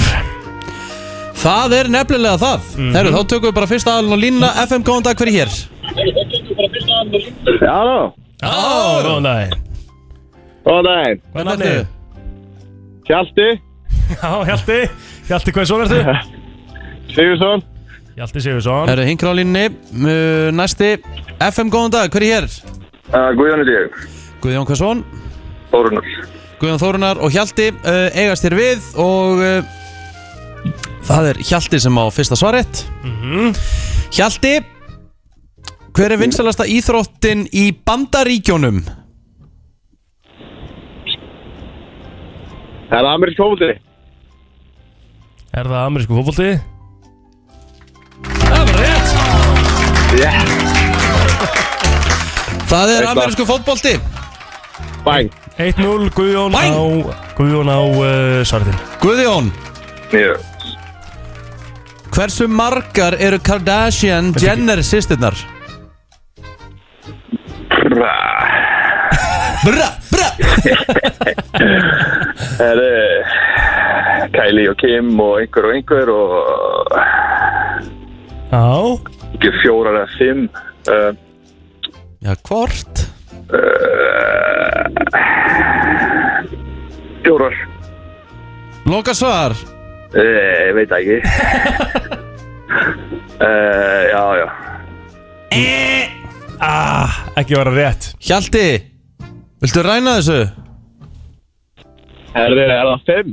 A: Það er nefnilega það mm
B: Mhm.
A: Herru, þá tökum við bara fyrsta aðalinn og línna FM, góðan dag, hver er hér?
D: Halló,
B: Ó, góðan dag
D: góðan daginn.
B: Hvað er nafnið?
D: Hjalti,
B: Já, Hjalti Hjalti, hvað er svo verður?
D: Sigursson,
B: Hjalti Sigursson
A: Herru, hingra á línni uh, Næsti, FM, góðan dag, hver er hér?
F: Uh, Guðjónur Díag,
A: Guðjón Kvason,
F: Þórunur.
A: Guðjón Þórunar og Hjalti uh, eigast hér við og uh, það er Hjalti sem á fyrsta svarett
B: Mhm.
A: Hjalti Hver er vinsalasta íþróttin í bandaríkjónum?
D: það er amerísk fólkvöldi.
B: Er það amerísku fótbolti? Það var rétt
A: Það er
D: Eitthvað.
A: amerísku fótbolti
D: Bæn,
B: 1-0 Guðjón
A: Bæn!
B: á eh, Guðjón á uh, svarðin
A: Guðjón,
F: Nýju.
A: Hversu margar eru Kardashian Jenner sýstirnar? Brra Brra
F: Er Kylie og Kim og einhver og einhver og
B: Já,
F: ekki fjórar eða fimm uh,
A: Já, hvort?
F: Fjórar,
A: Loka svar
F: uh, ég veit það ekki uh, Já, já
B: ekki vera rétt
A: Hjalti Viltu ræna þessu?
D: Herðu, er það fimm?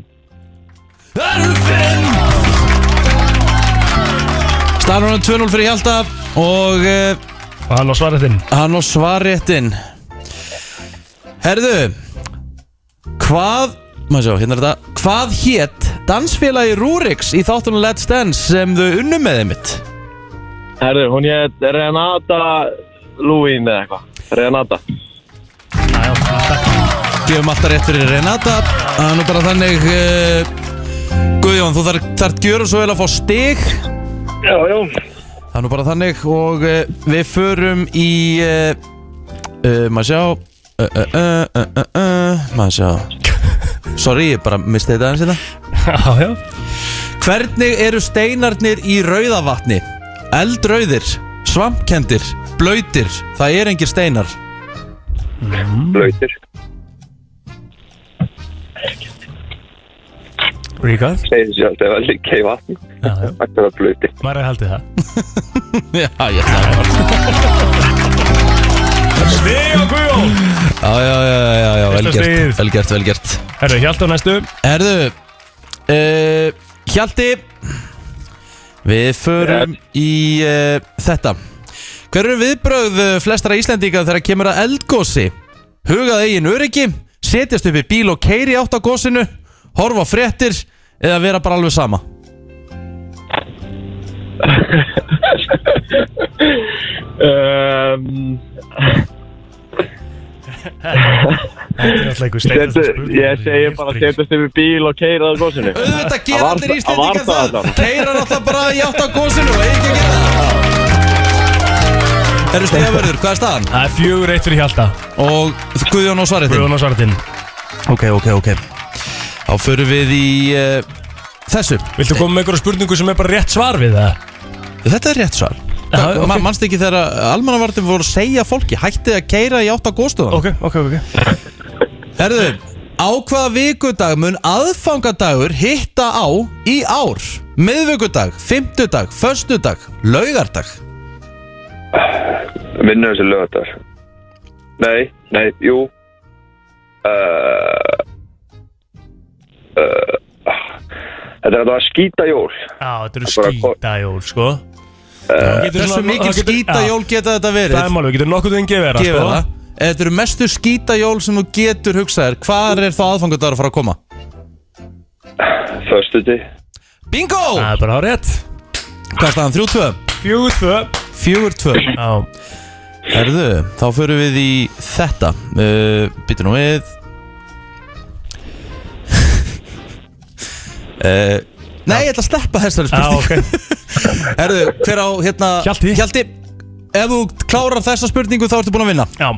A: Staðan hún 2-0 fyrir Hjalta Og uh,
B: Og hann á svarið þinn
A: hann á svarréttin Herðu Hvað maður sjá, hérna er þetta Hvað hétt dansfélagi Rúriks í þáttunum Let's Dance sem þau unnum með þeim mitt?
D: Herðu, hún hétt Renata Lúín eða eitthvað Renata
A: Gefum alltaf rétt fyrir Renata Það er nú bara þannig uh, Guðjón, þú þarf þarf gjöra svo vel að fá stig Það
D: Já, já
A: er nú bara þannig og uh, við förum í uh, uh, maður sjá uh, uh, uh, uh, uh, uh, maður sjá Sorry, ég bara misti þetta aðeins þetta
B: Já, já
A: Hvernig eru steinarnir í rauðavatni? Eldrauðir, svampkendir, blöytir Það er engir steinar
F: Blöytir,
B: Ríkard
F: segir sér alltaf að líka í vatni
B: Já, já
F: Akkur að blöyti
B: Mæri haldið það
A: Já, ég ætla að
B: Stig og Guðjón
A: Já, já, já, já, já, vel
B: Fyrsta
A: gert,
B: stigið.
A: vel gert, vel gert
B: Herru, hjálta á næstu
A: Erðu uh, Hjalti Við förum í uh, þetta Hver eru viðbrögð eh, flestra Íslendinga þegar kemur að eldgósi? Hugað eigin öryggi Setjast upp í bíl og keiri átt á gósinu Horfa á fréttir Eða vera bara alveg sama
D: um,
B: Ehm, Þetta er alltaf einhver
D: setu,
B: steitasta
D: Ég segi bara setjast yfir bíl og keira á gósinu
A: Auðvitað gera
D: var
A: allir
D: það-
A: Íslendingar
D: það var
A: það
D: það allan.
A: Keira náttúrulega bara í átt á gósinu Og eigi ekki að gera það Herru Stegavörður, hvað er staðan?
B: Það er fjögur eitt fyrir hjálta
A: Og Guðjón á svarið þinn
B: Guðjón á svarið þinn
A: Ok, ok, ok Þá förum við í uh, þessu
B: Viltu koma með einhverja spurningu sem er bara rétt svar við það?
A: Þetta er rétt svar
B: Já, ok.
A: okay. Manst ekki þegar almannavartum voru að segja fólki Hættið að keira í átt á góðstofan
B: Ok, ok, ok
A: Herðu, á hvaða vikudag mun aðfangadagur hitta á í ár? Miðvikudag, fimmtudag, föstudag, laugardag
F: Minnum þessi lögatar Nei, nei, jú uh, uh, Þetta er að það var skýta jól
B: Já, þetta eru
F: Bara kom-
B: skýtajól, sko
D: Eh,
B: Þú getur
A: Þessu
B: svona-
A: mikil
B: það getur- Já,
A: skítajól geta þetta verið
B: Það er málið, sko. við getur nokkuð þinn gefið
A: Gefið
B: það
A: það Þetta eru mestu skítajól sem þú getur hugsaðir Hvar er þá aðfangadagur að fara að koma?
F: Föstuti
A: Bingo!
B: Það er bara á rétt
A: Hvað er staðan? 3-2
B: Fjögur tvö
A: 4-2
B: Já,
A: Erðu, þá förum við í þetta uh, Býtu nú við uh, Nei, ég ætla að sleppa þessari
B: já,
A: spurningu
B: Ah, ok
A: Erðu, hver á hérna
B: Hjalti.
A: ef þú klárar þessa spurningu þá ertu búin að vinna
B: Já,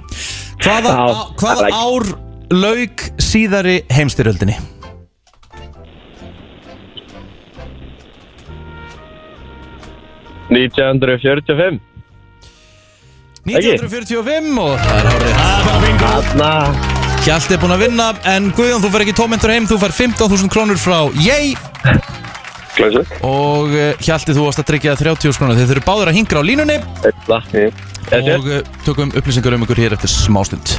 A: Hvaða,
D: Já,
A: á, hvaða
D: like.
A: ár lauk síðari heimstyrjöldinni?
D: Ekki.
A: 1945 og það er árið
B: það er bara bingo
D: Þarna
A: Hjalti er búin að vinna en Guðjón, þú fer ekki tómyndur heim þú fer 15.000 krónur frá Yay
F: Glæsa
A: og eh, Hjalti þú varst að tryggja 30 krónur þeir eru báður að hingra á línunni og uh, tökum upplýsingar um ykkur hér eftir smástund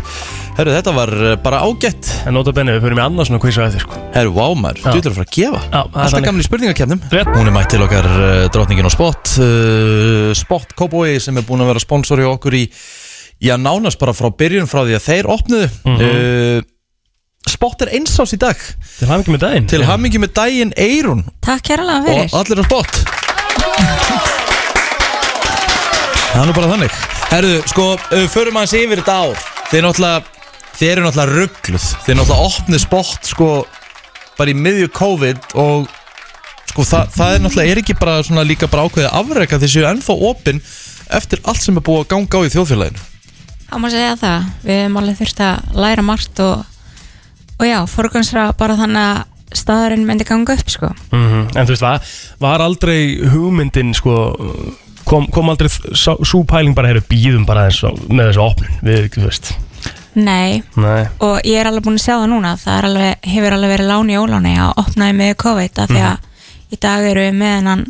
A: Herru, þetta var uh, bara ágætt
B: En nota benni, við fyrir mig annars svona quiz á eftir, sko
A: Herru, vámar,
B: Já.
A: þú ætlar að fara að gefa
B: Já, það er
A: Alltaf
B: þannig.
A: gamli spurningakefnum
B: Rétt.
A: Hún er mætt til okkar uh, drottningin og Spot uh, Spot Cowboy sem er búin að vera sponsor í okkur í Já, nánast bara frá byrjun frá því að þeir opnuðu
B: Mhm.
A: uh, Spot er einsás í dag
B: Til hann með daginn
A: Til hammingi með daginn Eirun
G: Takk kærlega
A: og
G: fyrir
A: allir á spott Það er nú bara þannig Herðu, sko, uh, förum aðeins yfir þetta ár Þeir náttúrulega, þeir eru náttúrulega ruggluð Þeir náttúrulega opnið spott, sko Bara í miðju COVID og sko, það, það er náttúrulega er ekki bara svona líka bara ákveðið afreka þeir séu ennþá opinn eftir allt sem er búið að ganga á í þjóðfélaginu
G: Það má segja það, við hefum alveg þurft að læra margt og, og já, forgansra bara þannig að staðarinn myndi ganga upp sko.
A: Mhm.
B: En þú veist, var, var aldrei hugmyndin sko, kom, kom aldrei svo pæling bara, heyrðu, býðum bara eins og, með þessu opnun, við, þú veist
G: Nei,
B: Nei,
G: og ég er alveg búin að sjá það núna, það er alveg, hefur alveg verið láni í óláni að opnaði með COVID af því að
A: Mhm.
G: í dag eru við með hennan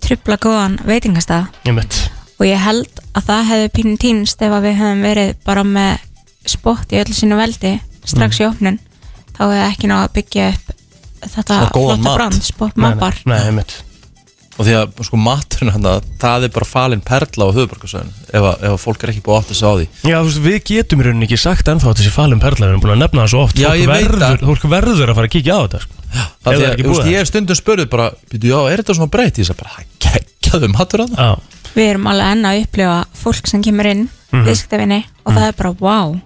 G: trubla góðan veitingastað
B: ég mitt
G: og ég held að það hefði pínu týnst ef að við hefðum verið bara með spott í öllu sínu veldi strax í
A: Mhm.
G: opnun þá hefði ekki náðu að byggja upp þetta
A: Svona góðan
G: flotta
A: mat.
G: brand, sportmapar
B: Nei, ég mitt
A: og því að sko maturinn hann það er bara falin perla á höfuborgarsöðinu ef, að- ef að fólk er ekki búið að átta sig á því
B: Já, þú veist, við getum í rauninni ekki sagt ennþá að þessi falum perla, við erum búin að nefna það svo oft
A: Já,
B: Fólk
A: ég veit
B: verður,
A: það.
B: Fólk verður að fara að kíkja á þetta, sko
A: Það
B: Ef
A: því
B: það er
A: að,
B: ekki
A: þú veist,
B: búið
A: ég er stundum spurðið bara, býtu, já, er þetta svona breytt? Ég sagði bara, "Ha, geggjaðu matur að það
B: Já,
G: við erum alveg enn að upplifa fólk sem kemur inn
B: Mhm.
G: mm og það er bara wow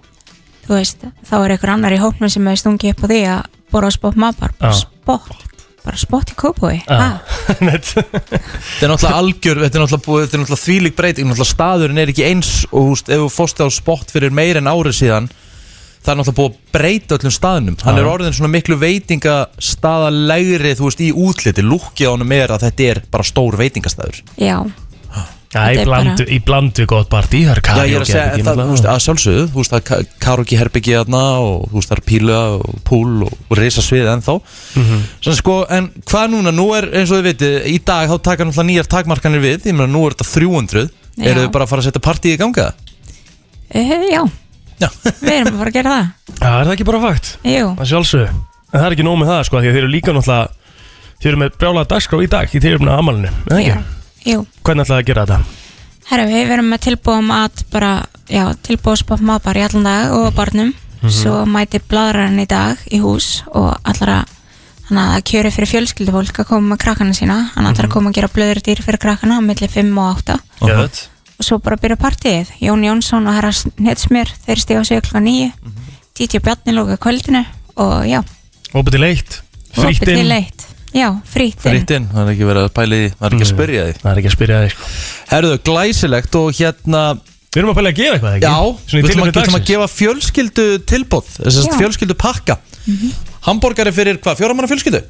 G: þú veist, þá er einhver annar í hópnum sem hefur stungið upp á því að bora á sportmapar bara
B: Já.
G: sport, bara sport í kópúi
B: já, mitt
A: Þetta er náttúrulega algjör, þetta er náttúrulega, búið, þetta er náttúrulega þvílík breyting Náttúrulega staðurinn er ekki eins og húst, ef þú fórst á spott fyrir meir en ári síðan Það er náttúrulega búið að breyta öllum staðnum Hann er orðin svona miklu veitingastaðalegri, þú veist, í útliti Lúkið á honum er að þetta er bara stór veitingastaður
G: já,
B: Já,
G: Þetta
B: í
G: er
B: bland,
G: bara-
B: í bland við gott partí, það
A: Já, ég er
B: er
A: að
B: karaoke
A: segja,
B: herbergi,
A: en það,
B: náttúrulega.
A: þú veist, að sjálfsögðu Þú veist, það er ka- karaoke herbyggi þarna og þú veist, það er píla og púl og, og reisasvið ennþá mm sko, En hvað núna, nú er, eins og þið vitið, í dag þá taka náttúrulega nýjar takmarkanir við Ég meina, nú er þetta 300
G: Já.
A: Eru þið bara að fara að setja partíð í ganga?
G: uh, já
A: Já,
G: við erum að fara að gera það
B: Já, er það ekki bara fakt?
G: Jú.
B: Það sjálfsög En það er ekki nóg með það sko Því að þeir eru líka náttúrulega Þeir eru með brjálaða dagskrá í dag Í tilöfna amalinu
G: Jú. Jú.
B: Hvernig ætlaði að gera þetta?
G: Herra, við verum með tilbúið mat bara, já, tilbúið spott maður í allan dag og á barnum,
B: Mhm.
G: svo mæti bladrarinn í dag í hús og allara hann að það kjöri fyrir fjölskyldufólk að koma með krakkana sína, hann ætlar
B: Mhm.
G: að koma að gera blöður dýr fyrir krakkana á milli 5 og 8
B: Gjöðt
G: og svo bara byrja partíið Jón Jónsson og herra Snetsmjör þeir stíða sig klukka 9
B: Mhm.
G: Títja Bjarni lóka kvöldinu og já
B: Opið til eitt
G: opið
B: Frítt
G: til
B: inn
G: eitt. já, frýttin,
A: fritt inn, það er ekki verið að pæli Það er ekki að spyrja því
B: Mm. Það er ekki að spyrja þig sko
A: Mm. Herðu, glæsilegt og hérna
B: Við erum að pæla að gefa eitthvað ekki?
A: Já,
B: Svona
A: við
B: í
A: ætlum
B: tilöfni
A: að, að, að
B: dagsins
A: gefa fjölskyldu tilbúð Þessast
G: Já. Mhm.
A: fjölskyldu pakka Hamborgari fyrir hvað, fjóramanna fjölskyldu?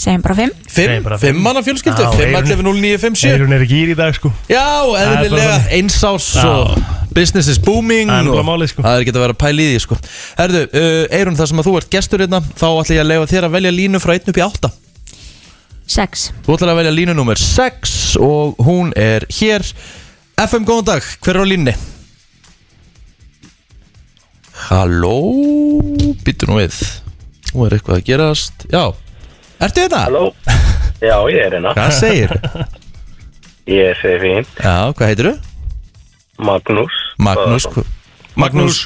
G: segjum bara 5
B: Nei,
A: Fimm,
B: bara fimm.
A: fimmanna fjölskyldu,
B: Já,
A: fimm,
B: eyrun-
A: allir 0957
B: Eyrun er ekki í í dag sko
A: Já,
B: er bara
A: eðlilega
B: þannig.
A: einsás
B: Já.
A: og business is booming
B: Það er bara
A: og
B: málið, sko.
A: það er ekki að vera að pæla í því sko. Herðu, uh, Eirun, þar sem að þú ert gestur hérna þá ætla ég að leifa þér að velja línu frá 1 upp í 8
G: 6
A: Þú ætlar að velja línu nummer 6 og hún er hér FM, góðan dag, hver er á línni? Halló, býttu nú við Nú er eitthvað að gerast Já, ertu þetta?
H: Halló? Já, ég er hérna.
A: Hvað segir?
H: Ég segi fín.
A: Já, hvað heitirðu?
H: Magnús.
A: Magnús Magnús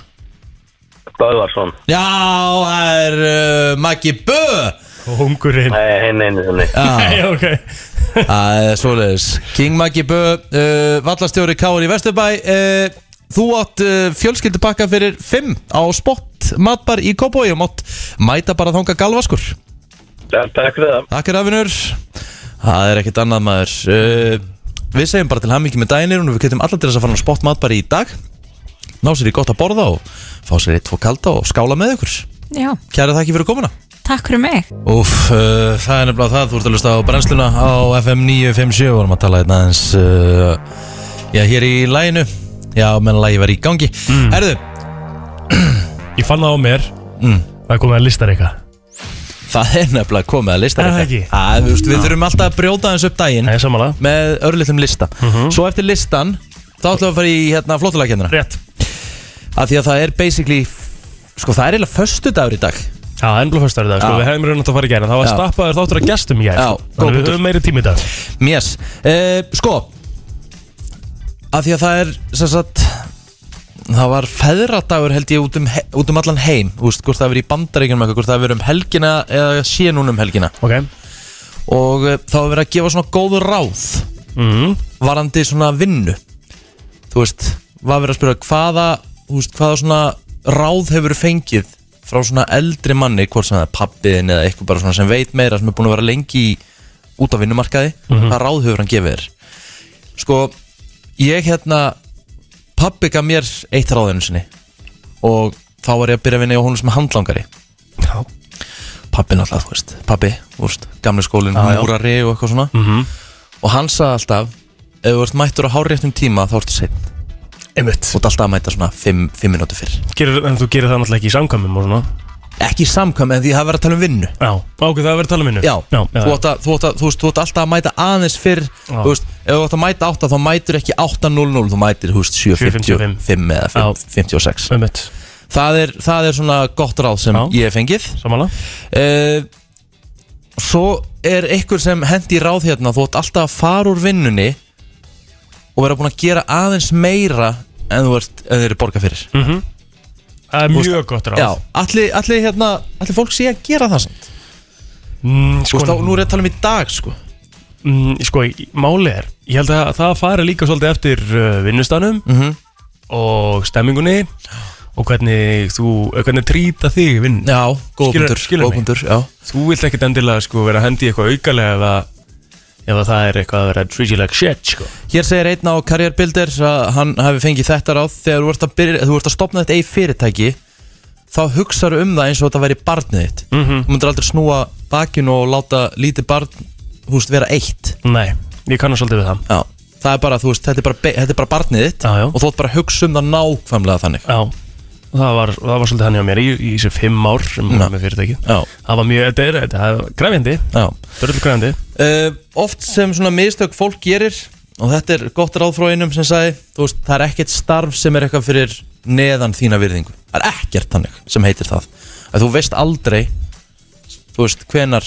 H: Böðvarsson.
A: Já, það er uh, Maggi Bö
B: Og hungurinn
H: Nei, hinn einu sinni.
A: Já,
B: Nei, ok
A: það er svoleiðis King Maggi Bö, uh, vallastjóri Káur í Vesturbæ uh, Þú átt uh, fjölskyldupakka fyrir 5 á spott matbar í Kópói og mátt mæta bara þanga galvaskur
H: Já, Takk fyrir það.
A: Takk er afinur Það er ekkert annað maður uh, Við segjum bara til hamingi með dænir og við getum allar til þess að fara á spott matbar í dag Ná sér í gott að borða og fá sér eitt, tvo kalda og skála með ykkur
G: já,
A: Kæra þakki fyrir komuna
G: takk fyrir mig
A: Úf, uh, það er nefnilega það, þú ert að hlusta á brennsluna á FM 957 og vorum að tala hérna aðeins uh, Já, hér í læginu Já, menn lægi var í gangi
B: Mm.
A: Herðu,
B: Ég fann það á mér Það er komið að listar eitthvað
A: það er nefnilega komið að lista
B: Er það ekki?
A: Að, við, við þurfum alltaf að brjóta aðeins upp daginn
B: Nei, samanlega
A: með örlitlum lista
B: Mhm.
A: Svo eftir listan, þá ætlum við að fara í hérna, flottulegkendina
B: Rétt
A: Af því að það er basically, sko það er eiginlega föstudagur í dag
B: Já, ennblá föstar í dag sko
A: Já.
B: Við hefum raunin að fara í gæri Það var
A: Já.
B: stappaður þáttur að gestum í gæri
A: Já, góð
B: Þannig við
A: punktur.
B: höfum meiri tími í dag
A: Yes, uh, sko Af því að það er sem sagt, Það var feðradagur held ég út um, he- út um allan heim Þú veist, hvort það verið í bandaríkjunum eitthvað Hvort það verið um helgina eða sé núna um helgina
B: Ok
A: Og uh, það var verið að gefa svona góð ráð
B: mm.
A: Varandi svona vinnu Þú veist, var verið að spyrja Hvaða, þú veist, hvaða svona ráð hefur fengið Frá svona eldri manni Hvort sem það er pappiðin eða eitthvað bara svona sem veit meira Sem er búin að vera lengi í út á vinnumarkaði mm
B: Mhm.
A: -hmm. hvað ráð hefur hann gefið þér sko, ég hérna pabbi gaf mér eitt ráðinu sinni og þá var ég að byrja að vinna hjá honum sem handlangari
B: Já.
A: pabbi náttúrulega, þú veist, pabbi þú veist, gamli skólinn,
B: Já, já.
A: múrari og eitthvað svona
B: Mhm.
A: og hann sagði alltaf ef þú ert mættur á háréttum tíma þá ertu seinn
B: Einmitt
A: þú ert alltaf að mæta svona 5 minúti fyrr
B: gerir, En þú gerir það náttúrulega ekki í samkvæmum og svona
A: ekki samkvæm en því það verður að tala um vinnu
B: Já, ákveð það að vera að tala um vinnu
A: Já,
B: já,
A: Þú, átt að, þú, átt að, þú, veist, þú átt alltaf að mæta aðeins fyrr
B: Já.
A: Þú veist, ef þú átt að mæta 8 þá mætur ekki 8.00 þú mætir, þú veist,
B: 7:55.
A: 7.55 eða 5, 56
B: Einmitt,
A: það er, það er svona gott ráð sem
B: Já.
A: ég hef fengið
B: samanlega
A: uh, Svo er einhver sem hendi í ráð hérna þú átt alltaf að fara úr vinnunni og vera búin að gera aðeins meira en þú ert, en þeir eru borga fyrir
B: Mhm. Það er mjög gott ráð
A: Já, allir, allir, hérna, allir fólk sé að gera það samt
B: mm,
A: Þú
B: sko,
A: veist, á, nú er ég að tala um í dag, sko
B: mm, sko, í- máli er Ég held að það fari líka svolítið eftir uh, vinnustanum
A: Mhm.
B: og stemmingunni og hvernig þú, eh, hvernig trýta þig í vinnu
A: Já,
B: Skilur-
A: góðbundur,
B: skilur mig.
A: góðbundur, já
B: Þú vilt ekkert endilega sko vera að hendi í eitthvað aukalega eða eða það er eitthvað að vera treat you like shit sko
A: Hér segir einn á karriérbildir að hann hefði fengið þetta ráð þegar þú ert að, byrja, þú ert að stopna þetta eigi fyrirtæki þá hugsaðu um það eins og þetta væri barnið þitt
B: Mhm.
A: þú myndir aldrei snúa bakinu og láta lítið barn húst vera eitt
B: Nei, ég kannu svolítið við það
A: já. það er bara, þú veist, þetta er bara, be- þetta er bara barnið þitt
B: Já, já.
A: og þú ert bara að hugsa um það nákvæmlega þannig
B: Já, það var, það var svolítið hann hjá mér í, í þessu fimm ár sem hún
A: Já.
B: var með fyrirtækið
A: já,
B: Það var mjög, þetta er, þetta er græfjandi,
A: já.
B: dörðu græfjandi
A: Uh, oft sem svona mistök fólk gerir og þetta er gott ráð frá einum sem sagði þú veist, það er ekkert starf sem er eitthvað fyrir neðan þína virðingu það er ekkert þannig sem heitir það að þú veist aldrei þú veist, hvenar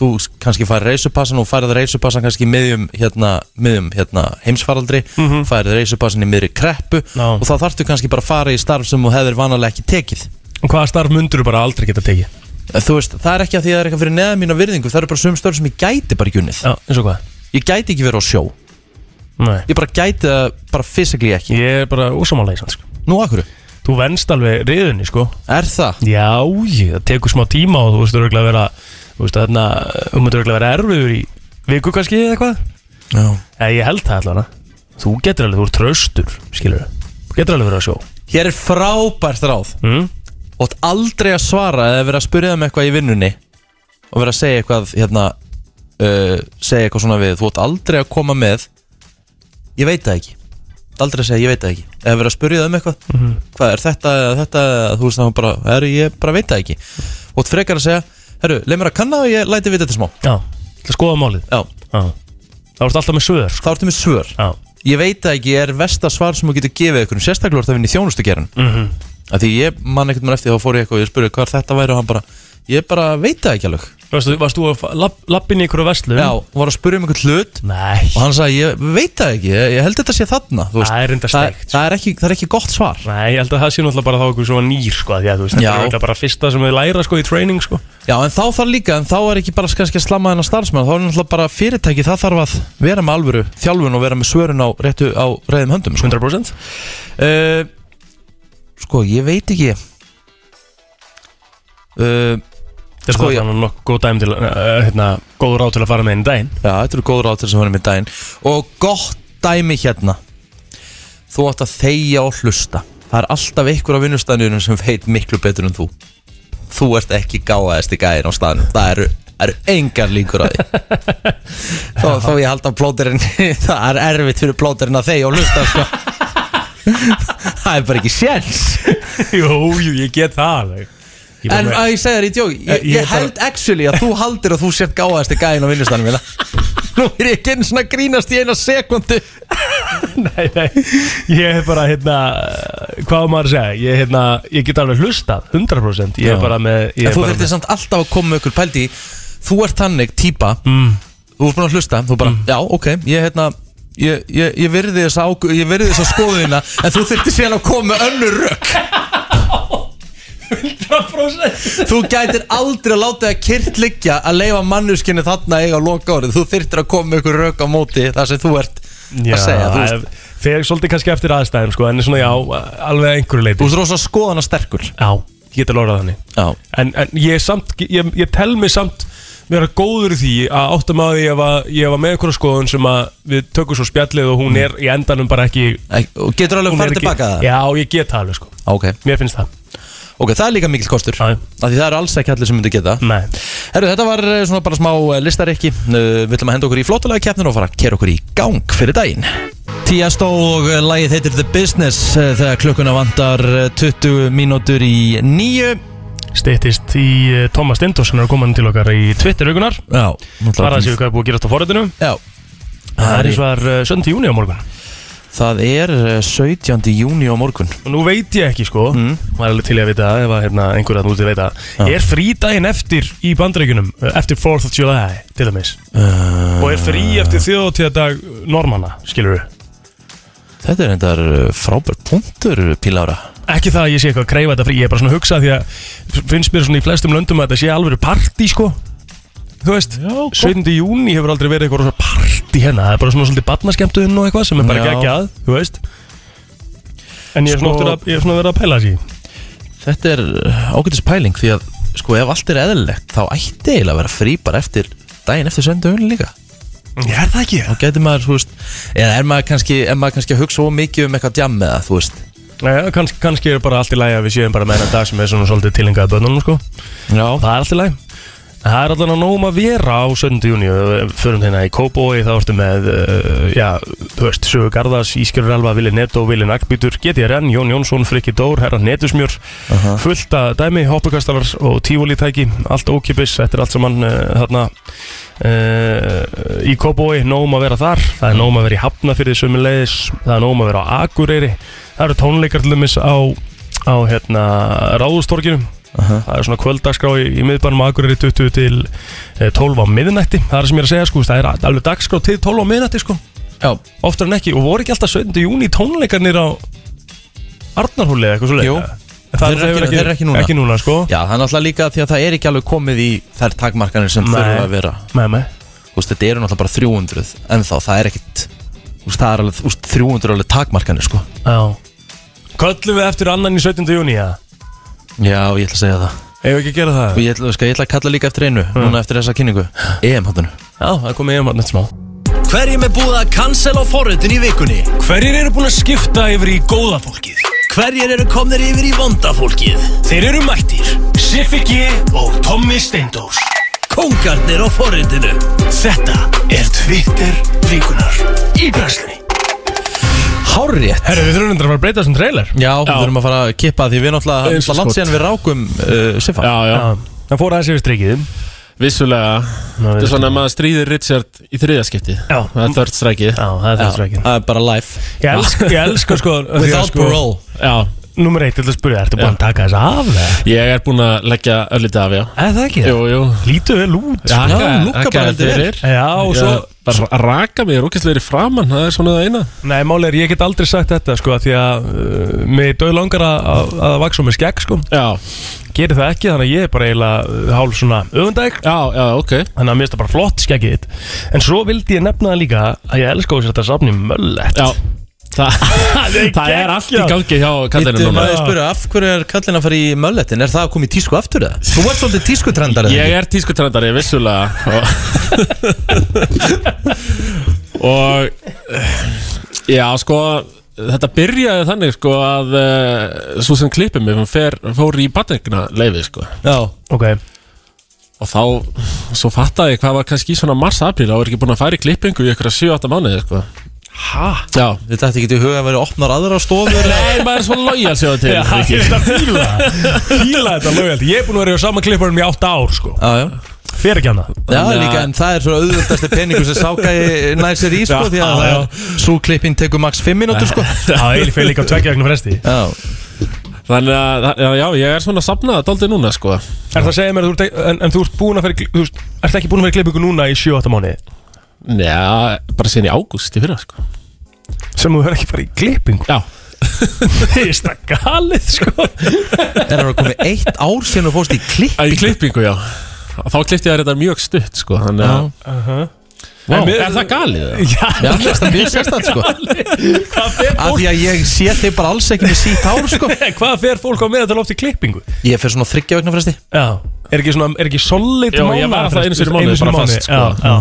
A: þú kannski færið reysupassan og færið reysupassan kannski í miðjum, hérna, miðjum hérna, heimsfaraldri, færið reysupassan í miðri kreppu
B: Mhm. Já.
A: og þá þarftu kannski bara að fara í starf sem þú hefur vanalega ekki tekið Eh,
B: Og hvaða starf mundur bara aldrei geta tekið?
A: þú veist, það er ekki að því að það er eitthvað fyrir neðan mína virðingu, það eru bara sum störf sem ég gæti bara ekki unnið,
B: Já, eins og hvað?
A: ég gæti ekki verið á sjó
B: Nei
A: Ég bara gæti það bara fysikli ekki
B: Ég er bara ósamálega í sann sko
A: Nú akkur,
B: Þú venst alveg riðunni sko
A: er það?
B: Já, ég, það tekur smá tíma og þú veist örgulega að vera Þú veist þarna, þú myndir örgulega að vera erfiður í viku kannski eða eitthvað
A: Já
B: Eða ég held það allavega Þú getur alveg, þú ert tröstur, skilur Þú getur alveg verið að sjó
A: Hér er frábært ráð
B: mm?
A: Og átt aldrei að svara eða vera að spyrja um eitthvað í vinnunni Og vera að segja eitthvað hérna uh, Segja eitthvað svona við Þú átt aldrei að koma með Ég veit það ekki Átt Aldrei að segja ég veit það ekki Eða vera að spyrja um eitthvað Hvað er þetta, eða þetta, eða þú veist það bara Herru, ég bara veit það ekki Og átt frekar að segja, herru, leið mér að kanna og ég læti við þetta smá
B: Já, það skoða málið
A: Já,
B: Já Það varst alltaf með svör sko.
A: þá ertu með svör
B: Já,
A: Ég veit það ekki, er versta svar sem þú getur gefið ykkur Sérstaklega er það að vinna í þjónustugeran mm
B: Mhm.
A: Því ég man ekkert mér eftir þá fór ég eitthvað og ég spurði hvað þetta væri og hann bara Ég bara veit það ekki alveg
B: varst, varst þú að lapp, lappin í ykkur á veslu?
A: Já, og var að spurja um einhvern hlut
B: Nei,
A: Og hann sagði, ég veit það ekki, ég, ég held þetta sé þarna þú veist.
B: það er enda
A: það,
B: steikt
A: það, er ekki, það er ekki gott svar
B: Nei, ég held að það sé náttúrulega bara þá okkur svona nýr sko, því að þú veist,
A: Já.
B: þetta er örugglega bara fyrsta sem við læra sko í training sko.
A: Já, en þá þarf líka, en þá er ekki bara kannski að slamma þennan starfsmann Þá er náttúrulega bara fyrirtæki, það þarf að vera með alvöru Þjálfun og vera með svörun á, réttu, á reyðum höndum sko.
B: 100%
A: Uh, sko, ég veit ekki uh,
B: Það er
A: Sko,
B: sko,
A: já.
B: þannig nokkuð góð dæm til, uh, hérna, góð ráð til að fara með einn daginn
A: Já, þetta eru góð ráð til sem hann er með daginn Og gott dæmi hérna Þú átt að þegja og hlusta Það er alltaf ykkur á vinnustæðinu sem veit miklu betur en þú Þú ert ekki gáðaðist í gæðin á staðinu Það eru, það eru engar líkur á því Þó, þó ég held að plóterinn Það er erfitt fyrir plóterinn að þegja og hlusta sko. Það er bara ekki séns
B: Jú, jú, ég get það alveg
A: En
B: Ég bara með- Eh,
A: að ég segja þér í djók Ég,
B: Ég- ég
A: ég held actually að þú haldir að þú sért gáðast í gæðin á vinnustæðinu mína Nú er ég ekki einu svona að grínast í eina sekundu
B: Nei, nei, ég er bara, hérna, hvað á maður að segja Ég, hérna, ég get alveg hlustað, 100% Ég
A: Já.
B: er bara með ég
A: En
B: er
A: þú
B: bara
A: þurftir
B: með-
A: samt alltaf að koma með ykkur pældi í, Þú ert þannig típa Þú ert búin að hlusta Þú bara, já, ok, ég hérna Ég, ég, ég verði þess að ég verði þess að skoðina en þú þurftir síðan að koma með önnur rök
B: 100%
A: þú gætir aldrei að láta það kyrt liggja að leifa mannuskinni þarna að eiga á loka árið þú þurftir að koma með ykkur rök á móti þar sem þú ert
B: Já,
A: að segja þú, veist,
B: þegar svolítið kannski eftir aðstæðum, sko En svona, já, alveg að einhverju
A: þú
B: leiti
A: ert rosa skoðana sterkur
B: Já, ég get alveg orðað þannig
A: já,
B: en, en ég samt ég, ég tel mig samt
I: vera góður í því að áttum að því ef að ég var með einhverja skoðun sem að við tökum svo spjallið og hún
B: Mm.
I: er í endanum bara ekki
A: Ek- og Getur alveg
I: hún er
A: farið
I: ekki-
A: tilbaka það?
I: Já, ég get það alveg sko
A: Ok,
I: Mér finnst það
A: ok, það er líka mikill kostur
I: Já, já.
A: Af Því það eru alls ekki allir sem myndu geta
I: Nei
A: Herru, þetta var eh, svona bara smá listareikki Við ætlum að henda okkur í flottalega keppnin og fara að kera okkur í gang fyrir daginn Tiesto og eh, lagið heitir The Business eh, þegar klukkuna vantar eh, 20 mínútur í nýju
B: Stýttist í eh, Tómas Stindós sem er komin til okkar í Twitter-augunar
A: Já,
B: Það er að séu hvað er búið að gerast á forrættinu
A: Já,
B: Það er eins og það
I: eh,
B: er 7. júni á morgun
A: það er eh, 17. júni á morgun
B: Og nú veit ég ekki sko mm. Var alveg til í að vita það ef að hérna, einhverja núti veit að Er frídaginn eftir í bandaríkunum Eftir 4th of July til dæmis
A: Eh,
B: Og er frí eftir þjóðtíðadag normanna Skilur
A: Þetta er endar frábær punktur Pílára
B: Ekki það að ég sé eitthvað að kreifa þetta frí Ég er bara svona að hugsa því að Finnst mér svona í flestum löndum að þetta sé alveg partí sko Þú veist, 17. júni hefur aldrei verið eitthvað partí hérna Það er bara svona svolítið barnaskemmtuðinn og eitthvað sem er bara
A: Já.
B: geggjað Þú veist En ég er svona,
A: Sko-
B: sko... að, ég er svona að vera að pæla því
A: Þetta er eh, ágætis pæling því að sko ef allt er eðlilegt þá ætti eiginlega að vera frí bara eftir daginn eftir söndagun líka
B: Ég er það ekki
A: þá getur maður, þú veist eða er maður kannski, er maður kannski að hugsa of mikið um eitthvað djam með það, þú veist
B: Nei, kannski, kannski er bara allt í lagi að við séum bara með hennar dag sem er svona svolítið tilengað bönnunum sko
A: Já,
B: Það er allt í lagi En Það er allan að nógum að vera á 17. júni Förum þeirna í Kóboi, þá ertu með uh, Já, þú veist, Sögu Garðas, Ískjörur Elva, Vili Netto, Vili Nagbítur GTRN, Jón Jónsson, Frikki Dór, Herra Netusmjör Fullt að dæmi, hoppukastalar og tífólítæki Allt ókipis, þetta er allt saman uh, þarna uh, Í Kóboi, nógum að vera þar Það er nógum að vera í Hafnafyrði sömulegis Það er nógum að vera á Akureyri Það eru tónleikar til dæmis á, á hérna, Ráðustorginu Það er svona kvöldagskrá í, í miðbænum á Akureyri 20 til eh, 12 á miðnætti Það er sem ég er að segja sko, það er alveg dagskrá til 12 á miðnætti sko
A: já,
B: Oftar en ekki, og voru ekki alltaf 17. júni tónleikarnir á Arnarhúli eða eitthvað svo
A: Jú.
B: Það
A: Þeir eru
B: hefur
A: ekki- þeir eru ekki núna.
B: Ekki núna sko
A: já það er náttúrulega líka því að það er ekki alveg komið í þær takmarkanir sem
B: Nei.
A: þurfa að vera
B: Nei, nei
A: þú veist, þetta eru náttúrulega bara 300 en þá, það er ekkit þú veist, það er alveg, þú veist, 300 er alveg takmarkanir, sko
B: Já Köllum við eftir annan í 17. júni, já
A: Já, ég ætla að segja það
B: Ef ekki að gera það
A: og ég ætla, sko, ég ætla að kalla líka eftir einu núna eftir þessa kynningu, EM-háttunum
B: Já, það er komið ég um hann eitt smá
J: Hverjum er búið að cancel á forritin í vikunni?
I: Hverjir eru búin að skipta yfir í góða fólkið?
J: Hverjir eru komnir yfir í vonda fólkið?
I: Þeir eru mættir Siffi G og Tommi Steindós
J: Kóngarnir á forritinu
I: Þetta er Twitter vikunar Í brensli
A: Hárrétt
B: Herru, við þurfum endur að fara að breyta þessum trailer
A: Já, við þurfum að fara að kippa því við náttúrulega
D: Eins og
A: náttúrulega langt síðan við rákum uh, Siffa
D: Já, já,
B: Það fór aðeins yfir strikið
D: vissulega Þetta er svona að maður stríðir Richard í þriðaskipti
B: Já.
D: Það er þörd strækið
B: Já, það er það strikið
A: Það er bara live
B: Ég elska, ég elska sko því að,
A: Without
B: sko,
A: parole
D: Já,
B: Númer eitt, ég ætla að spyrja, ertu búin að taka þess af það?
D: ég er búinn að leggja öllítið af, já
B: Er það ekki?
D: Jú, jú
B: Lítu vel út sko.
D: Þakka-
A: hún lúkkar
D: þakka
A: bara
D: þér
A: heldur vel.
D: fyrir.
B: Já, og svo
D: Ég Bara að raka mig, ég er ókvæmstlega í framann, það er svona það eina
B: Nei, máli er, ég get aldrei sagt þetta sko Því að uh, mig döð langar að, að, að vaksa með skegg sko
D: Já,
B: Gerir það ekki, þannig að ég er bara eiginlega uh, hálf svona öfundæk
D: já, já, ok
B: Þannig að mér finnst það bara flott skeggið þitt En svo vildi ég nefna það líka Að ég elska þess að þetta safni möllett
D: Já, Þa, það er allt í gangi hjá kallinu
A: Býttu
D: núna
A: maður að spyrja, af hverju er kallin að fara í mölletin? Er það að koma í tísku aftur eða? Þú ert svolítið tískutrendar eða?
D: Ég er tískutrendari, vissulega Og, og Já, sko Þetta byrjaði þannig sko að uh, Svo sem klippið mig, hún fer, fór í batningna leiði sko
A: ekki? Já,
B: Ok,
D: Og þá, svo fattaði ég hvað var kannski í svona mars-apríl Það var ekki búin að fara í klippingu í ykkur 7-8 mánuði sko
B: ha?
D: Já
A: við dætti ekki til huga að vera opnar aðra stofur
D: Nei, maður er svo lojal sjóðu til
B: Já, ég
D: Riki.
B: er þetta að fíla Fíla þetta lögjald Ég er búin að vera í sama klipparum í 8 ár sko
A: Já, já
B: Fer ekki hana
A: Já,
D: Þannig að-
A: líka, en það er svo auðvöldasti peningur sem sákæði nær sér í, sko,
B: Já,
A: því að
B: já, já.
A: svo klippin tekur max 5 mínútur, sko
B: Já, ég fer líka á tveggja vegna fresti
A: Já,
D: Þannig að, já, já, ég er svona safnað Daldið núna sko
B: Er það að segja mér að þú ert, en, en þú ert búin að fyrir, þú veist, ert ekki búin að fyrir klippingu núna í 7-8 mánuði?
D: Já, bara síðan í ágúst í fyrra sko
B: Sem þú hefur ekki farið í klippingu?
D: Já,
B: Það er stakka galið, sko.
A: er það komið eitt ár síðan og fórst í klipp
D: Að í klippingu, já Þá klippti ég þetta mjög stutt, sko Þannig að
A: Vá.
D: Er það galið það?
A: Já, mér finnst það mjög sérstætt sko Af því að ég sé þig bara alls ekki með sítt hár sko
B: Hvað fer fólk á meðal oft í klippingu?
A: Ég fer svona þryggja vegna fresti
B: Já Er ekki svona, er ekki solid
D: Já, ég var það einu sinni í mánuði, bara fast, sko.
B: Já, já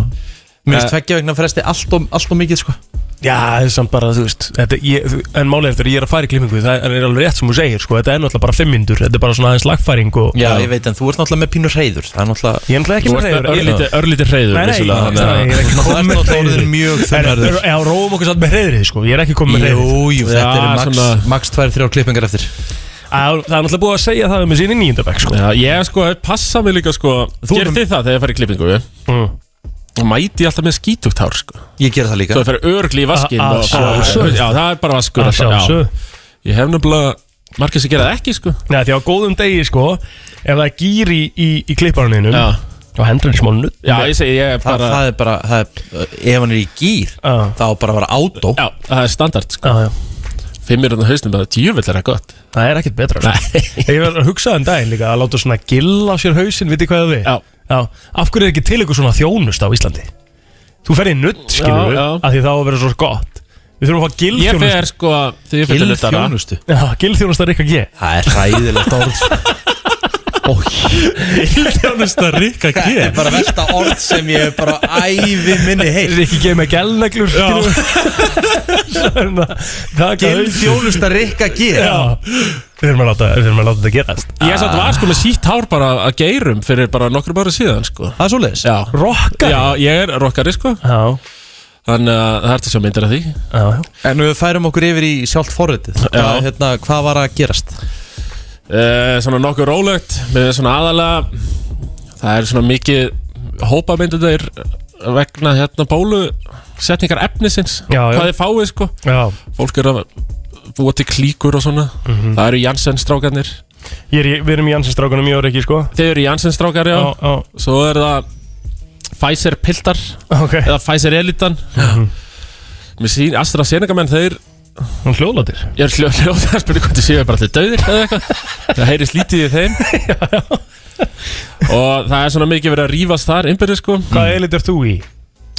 A: Mér finnst tveggja vegna fresti allt og, allt og mikið sko
B: Já, það er samt bara, þú veist þetta, ég, En málið er þetta, ég er að fara í klippingu Það er alveg rétt sem þú segir, sko Þetta er náttúrulega bara fimmindur Þetta er bara svona aðeins lagfæring og
A: Já, ég veit en þú ert náttúrulega með pínur reyður Það er náttúrulega
B: Ég er náttúrulega ekki
D: Þú
B: með
D: ert
B: reyður
D: örlítið, örlítið hreyður
B: Nei, nei, ég
D: vissulega, þannig að-
B: ég er ekki
A: Þú ert náttúrulega orðinn mjög þunnarður
B: komið með reyður Já, róum okkur samt með reyðrið, sko Ég er ekki komið með reyðrið
A: Jú, jú, þetta
D: Já,
A: eru max,
D: svona-
A: max 2-3 klippingar eftir
B: Það er náttúrulega búið að segja það um þessi inn í nýjöndabæk, sko
D: Já, ég sko, passa mig líka sko Gerði þið það þegar ég fær í klippingu
B: Mm.
D: Og mæti ég alltaf með skítugt hár sko
A: Ég gera það líka
D: Svo ég fer örgli í vaskin
B: Að- að sjálfsögðu.
D: Já, það er bara vaskur
B: Að
D: alltaf, já.
B: sjálfsögðu.
D: Ég hef nefnilega margir sem gera það ekki sko
B: Nei, því á góðum degi, sko Ef það er gýr í, í, í klipparuninum
D: Já.
B: Og hendur henni smá nutt
D: Já, ég segi, ég er
A: Þa,
D: bara
A: Það er bara, það er, ef hann er í gýr
B: Já.
A: Þá bara að vera átó
D: Já, það er standard sko
B: Já, já
D: Fimmir undan hausnum, það er djúvill er það gott
B: Það er ekkert betra sko. Ég var að hugsa um daginn líka að láta svona gill á sér hausinn, viti hvað það við
D: Já.
B: Af hverju er ekki til eitthvað svona þjónust á Íslandi? Þú ferði nutt, skilur við
D: já.
B: að því þá að vera svo gott Við þurfum að fá gill
D: Ég
B: þjónust
D: fer sko, þegar ég fer til þetta
A: Gilþjónustu
B: Já, gill þjónust að rikka G
A: Það er ræðilegt orð sko.
B: Þjónust að rikka G
A: Þetta er bara versta orð sem ég hef bara ævi minni heilt
B: Rikki G með gælneglur skilur við. Svona, Það er
A: Gil þjónusta Rikka G
B: Já, við þurfum að láta, við þurfum að láta þetta gerast Ah.
D: Ég satt var sko með sítt hár bara að geirum fyrir bara nokkrum ára síðan sko
A: Það er svoleiðis
D: Já,
B: Rokkar
D: já ég er rockari sko
B: já,
D: Þannig að það er til að sjá myndir af því
B: já, já.
A: En við færum okkur yfir í sjálft forritið
D: Já.
A: hvað, hérna, hvað var að gerast?
D: Eh, svona nokkuð rólegt með svona aðalega það er svona mikið hópamynduðir vegna hérna bólu setningar efnisins
B: Já, já.
D: hvað þið fáið sko
B: já.
D: fólk er að búa til klíkur og svona
B: Mhm.
D: það eru Janssen strákarnir
B: Ég er, í- Við erum í Janssenstrákunum í ári ekki sko
D: þeir eru Janssen strákar já.
B: Já, já,
D: svo er það Pfizer piltar
B: ok
D: eða Pfizer elitan
B: Mhm.
D: mér sín AstraZeneca menn þeir
B: Hún hljóðlátir
D: ég er hljóð hljóð að spyrja hvort þið séu bara allir döðir eða eitthvað það heyri slítið í þeim og það er svona mikið verið að rífast þar innbyrðið sko
B: Hvað elit er þú í?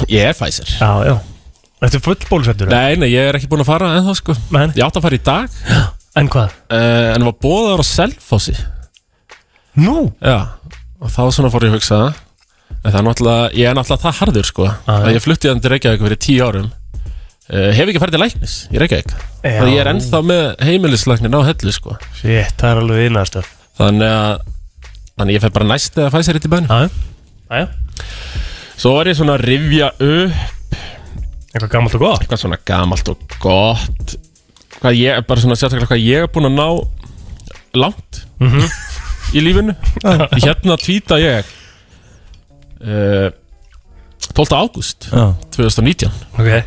D: ég er Pfizer
B: Mm. Já, já Þetta er fullbólusettur
D: nei, nei, ég er ekki búin að fara ennþá sko
B: Men,
D: ég átti að fara í dag
B: En hvað?
D: uh, en var bóðar á Selfossi
B: Nú
D: já og þá svona fór ég að hugsa það en það er náttúrulega ég er náttúrulega það harður sko að ég flutti þannig til Reykjavík fyrir tíu árum Uh, hef ekki farið til læknis í Reykjavík þannig að ég er ennþá með heimilislæknin á hellu sko.
B: Shit, það er alveg innastöf
D: þannig að þannig að ég fer bara næst eða fæsir eitt í bæn
B: Já, já
D: Svo var ég svona að rifja upp
B: Eitthvað gammalt og gott
D: eitthvað svona gamalt og gott hvað ég, bara svona sérstaklega hvað ég er búin að ná langt í lífinu hérna tvíta ég uh, 12. ágúst 2019
B: Ok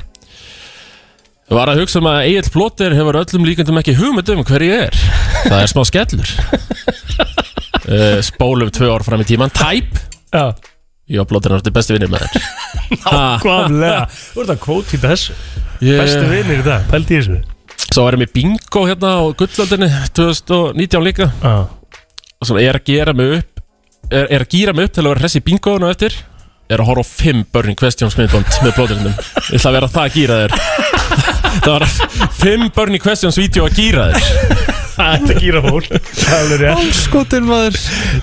D: Ég var að hugsa um að Egil Plóter hefur öllum líkandum ekki hugmynd um hver ég er það er smá skellur uh, spólum tvö ár fram í tíman tæp,
B: Já,
D: ég og Plóter er náttúrulega besti vinnir með þér
B: nákvæmlega Þú ert að kvóti þessu Bestu vinir í dag, pældi í þessu
D: Svo erum við bingo hérna á gullöldinni 2019 líka
B: Já
D: og svona ég er að gera mig upp er, er að gýra mig upp til að vera hress í bingoðun og eftir er að horfa á fimm Burning Questions myndband með blóðurinnum ég ætla að vera það að gýra þér það var fimm Burning Questions vídeo að gýra þér
B: Þetta gýra fólk Það er alveg rétt
A: Skotin maður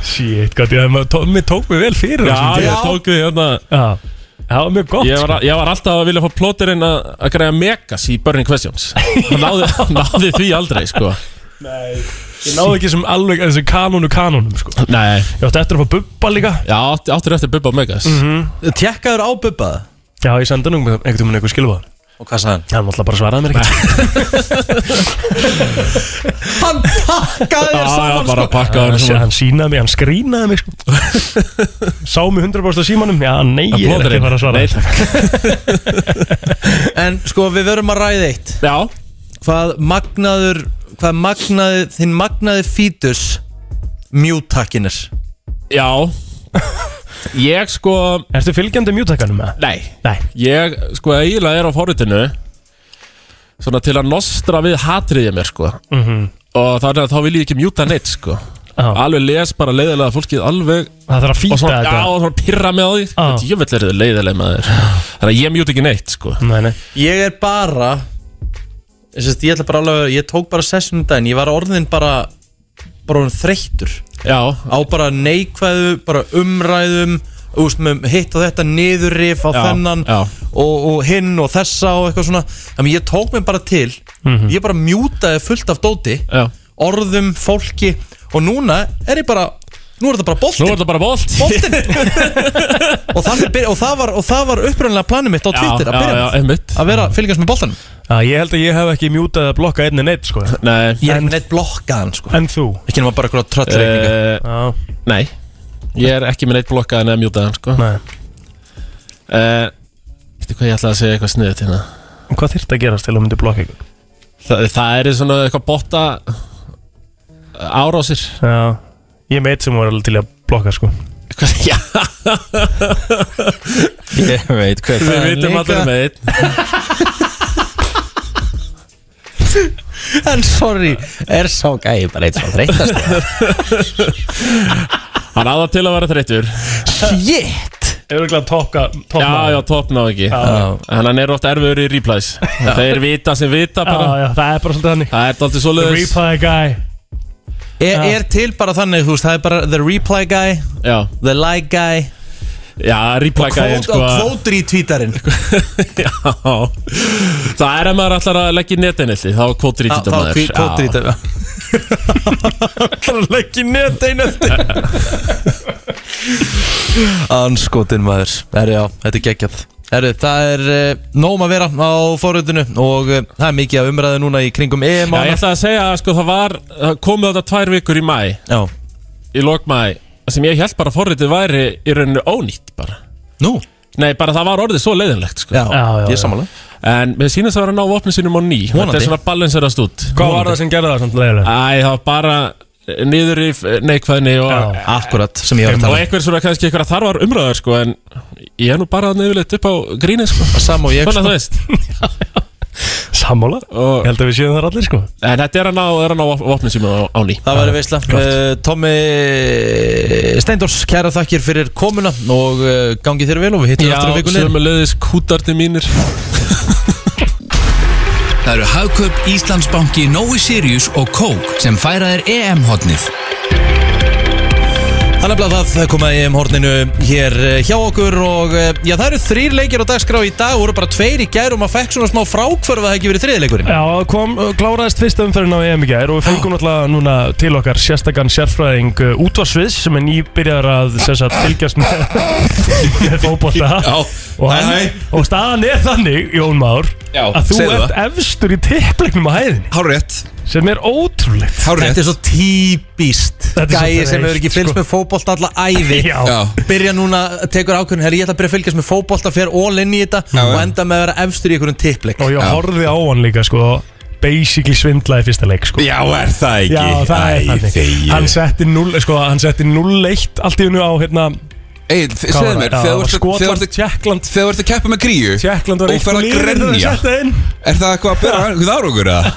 B: Shit, gott, ég maður tó- Mér tók mig vel fyrir á þessum
D: já
B: tíma.
D: ég tók því hérna
B: Já Það var mjög gott
D: Ég var, ég var alltaf að vilja fá plóterinn að að græja megas í Burning Questions Hann náði, hann náði því aldrei sko
B: Ég náði ekki sem alveg þessu kanónu kanónum sko.
D: Nei
B: Ég átti eftir að fá bubba líka
D: Já, átti- áttir eftir Bubba og Megas
A: Tjekkaður á bubbaða
B: Já, ég sendi hann um einhvern veginn eitthvað skilfað
A: Og hvað sagði hann?
B: Hann alltaf bara svaraði mér ekkert
A: Hann pakkaði
D: Já,
A: þér
D: já,
A: saman
D: bara
A: sko
D: að pakka hann
B: hann,
D: svona.
B: hann sínaði mig, hann skrínaði mig sko. Sá mig 100% símanum Já, nei, ég er ekki
D: Plóterinn.
B: að fara að svara
D: Nei,
B: þessu.
A: En sko við verum að ræða eitt
D: Já,
A: Hvað magnaður Hvað magnaði Þinn magnaði fítus Mjútakkinir
D: Já Ég sko
B: Ertu fylgjandi mjútakanum með?
D: Nei
B: Nei,
D: Ég sko eiginlega er á forritinu Svona til að nostra við hatriðið mér sko
B: mhm,
D: Og þannig að þá vil ég ekki mjúta neitt sko
B: Já.
D: Alveg les bara leiðilega fólkið alveg
B: Það þarf að
D: Og
B: fýta
D: svona, já,
B: þetta
D: og svona pyrra með á því
B: Já.
D: Þetta ég vill er þið leiðilega með þér Þannig að ég mjút ekki neitt, sko
B: Nei, nei
A: Ég er bara ég, sest, ég, ætla bara alveg, ég tók bara sessunum daginn Ég var orðin bara bara orðin þreyttur
D: Já,
A: á bara neikvæðu, bara umræðum úst, með hitt og þetta niðurrif á
D: Já,
A: þennan
D: já.
A: Og, og hinn og þessa og eitthvað svona Þannig ég tók mér bara til Ég bara mjútaði fullt af dóti
D: Mhm. já
A: orðum, fólki og núna er ég bara nú er þetta bara
D: Nú
A: boltinn
D: er þetta bara volt
A: boltinn og, þannig byrja- og það var, og það var upprunnilega planið mitt á Twitter að
D: já,
A: byrja
D: já,
A: með.
D: einmitt
A: að vera fylgjast með boltanum
B: Já, ég held að ég hef ekki mjútað að blokka einni neitt, sko
D: Nei,
A: ég er ekki neitt blokkaðan sko
B: En þú?
A: ekki nema bara eitthvað tröllreikninga
D: uh,
B: Já,
D: nei Ég er ekki með neitt blokkaðan eða mjútaðan, sko
B: nei
D: uh, Veitu hvað ég ætlaði að segja eitthvað sniðið hérna
B: En Hvað þyrfti að gerast til að myndi blokka einhvern?
D: Þa, Það er svona eitthvað botta eh, árásir
B: Já, ég meit sem var alveg til að blokka, sko
D: Hvað, já Ég veit hvað Við vitum um
A: líka-
D: að það er með einn
A: en sorry, er sá gæi bara eitt svo þreytast
D: Hann áða til að vera þreyttur
A: shit
B: Örgulega topka, topka
D: Já, já, topna á ekki En hann er oft erfiður í replies Þeir vita sem vita
B: já,
D: bara
B: já, það er bara svolítið þannig
D: Það er dalti
B: The
D: svoleiðis
B: reply guy
A: er, er til bara þannig, þú veist, það er bara the reply guy,
D: Já,
A: the like guy
D: já, reply gæðin sko
A: og kvótur í tweetarinn
D: Já Það er að maður ætlar að leggja í netinelli Þá kvotur í
A: Já,
D: títa
A: þá
D: maður
A: kví- kvótur í
D: Já.
A: þetta Þannig legg í net einu eftir Anskotin maður Herri já, þetta er geggjað Herri, það er uh, nóm að vera á forröndinu og uh, það er mikið að umræða núna í kringum EM
D: Já,
A: og
D: ég
A: annað.
D: ætla að segja að sko, það var það komu þetta tvær vikur í mæ
A: Já,
D: í lok mæ sem ég held bara að forritið væri í rauninu ónýtt bara
A: nú,
D: Nei, bara það var orðið svo leiðinlegt sko.
A: já,
B: já,
A: ég
B: já.
A: er sammála
D: En mér sýnast að vera að ná vopnum sínum á ný Þetta
A: Vonandi.
D: er svona balanserast út
B: Hvað var það sem gerði það svona leiðilega?
D: Æ, það var bara eh, niður í eh, neikvæðni og,
B: Já.
A: Akkurat sem ég var að
D: og
A: tala um.
D: einhver svona kannski einhverja þarfar umræður sko, en ég er nú bara að nefnilegt upp á gríni sko.
A: um. Sam og ég
D: Þannig að þú veist
B: Sammála?
D: og,
B: Ég held að við séum þar allir, sko
D: En þetta er að ná, er að ná vopnum sínum á, á ný
A: Það væri veistla uh, Tommi Steindors, kæra þakkir fyrir komuna og uh, gangi þér vel og við hittum
D: Já,
A: aftur í vikunni
D: sömulegðis kútardi mínir
J: Það eru Hagkaup, Íslandsbanki, Nói Sirius og Kók sem færa þér EM-hotnið.
A: Þannig að það komaði í horninu hér eh, hjá okkur og eh, já, það eru þrýr leikir á dagskrá í dag og voru bara tveir í gær og maður fekk svona smá frákvörf að það ekki verið þriðleikurinn.
B: Já, kom, uh, kláraðist fyrsta umferðin á EM í gær og við fengum náttúrulega núna til okkar sérstakann sérfræðing uh, útvarsviðs sem er nýbyrjar að sess að fylgjast með, með fótbolta og, hann, og staðan er þannig, Jón Már
K: Já,
B: að þú
K: segðu
B: ert efstur í tippleiknum á hæðinni
K: Hárétt
B: sem er ótrúlegt
A: Þetta er svo típist
B: Þetta er svo
A: gæi sem
B: þreytt,
A: hefur ekki fylgst
B: sko.
A: með fótbolta alla ævi.
B: Já,
K: Já,
A: Byrja núna, tekur ákvörðin, herri ég ætla að byrja að fylgjast með fótbolta, fer all inn í þetta
K: Já, já.
A: og enda með að vera efstur í einhverjum tippleik.
B: og ég horfði á hann líka sko basically svindlaði fyrsta leik sko.
K: já er það ekki
B: Já, það er þannig
K: þegi
B: Hann setti 0 sko, hann setti 0-1 allt í hennu á hérna
K: Ey, þ- segðu
B: var
K: mér,
B: það? Já,
K: þegar þú ert að- þegar þú
B: Skotland,
K: ert að-
B: Tékkland
K: þegar þú ert að keppa með kríu
B: Tjekkland var
K: Og ferð að
B: liðið þegar hann
K: grenja.
B: setti það inn.
K: Er það eitthvað að bera einhvern árangur eða?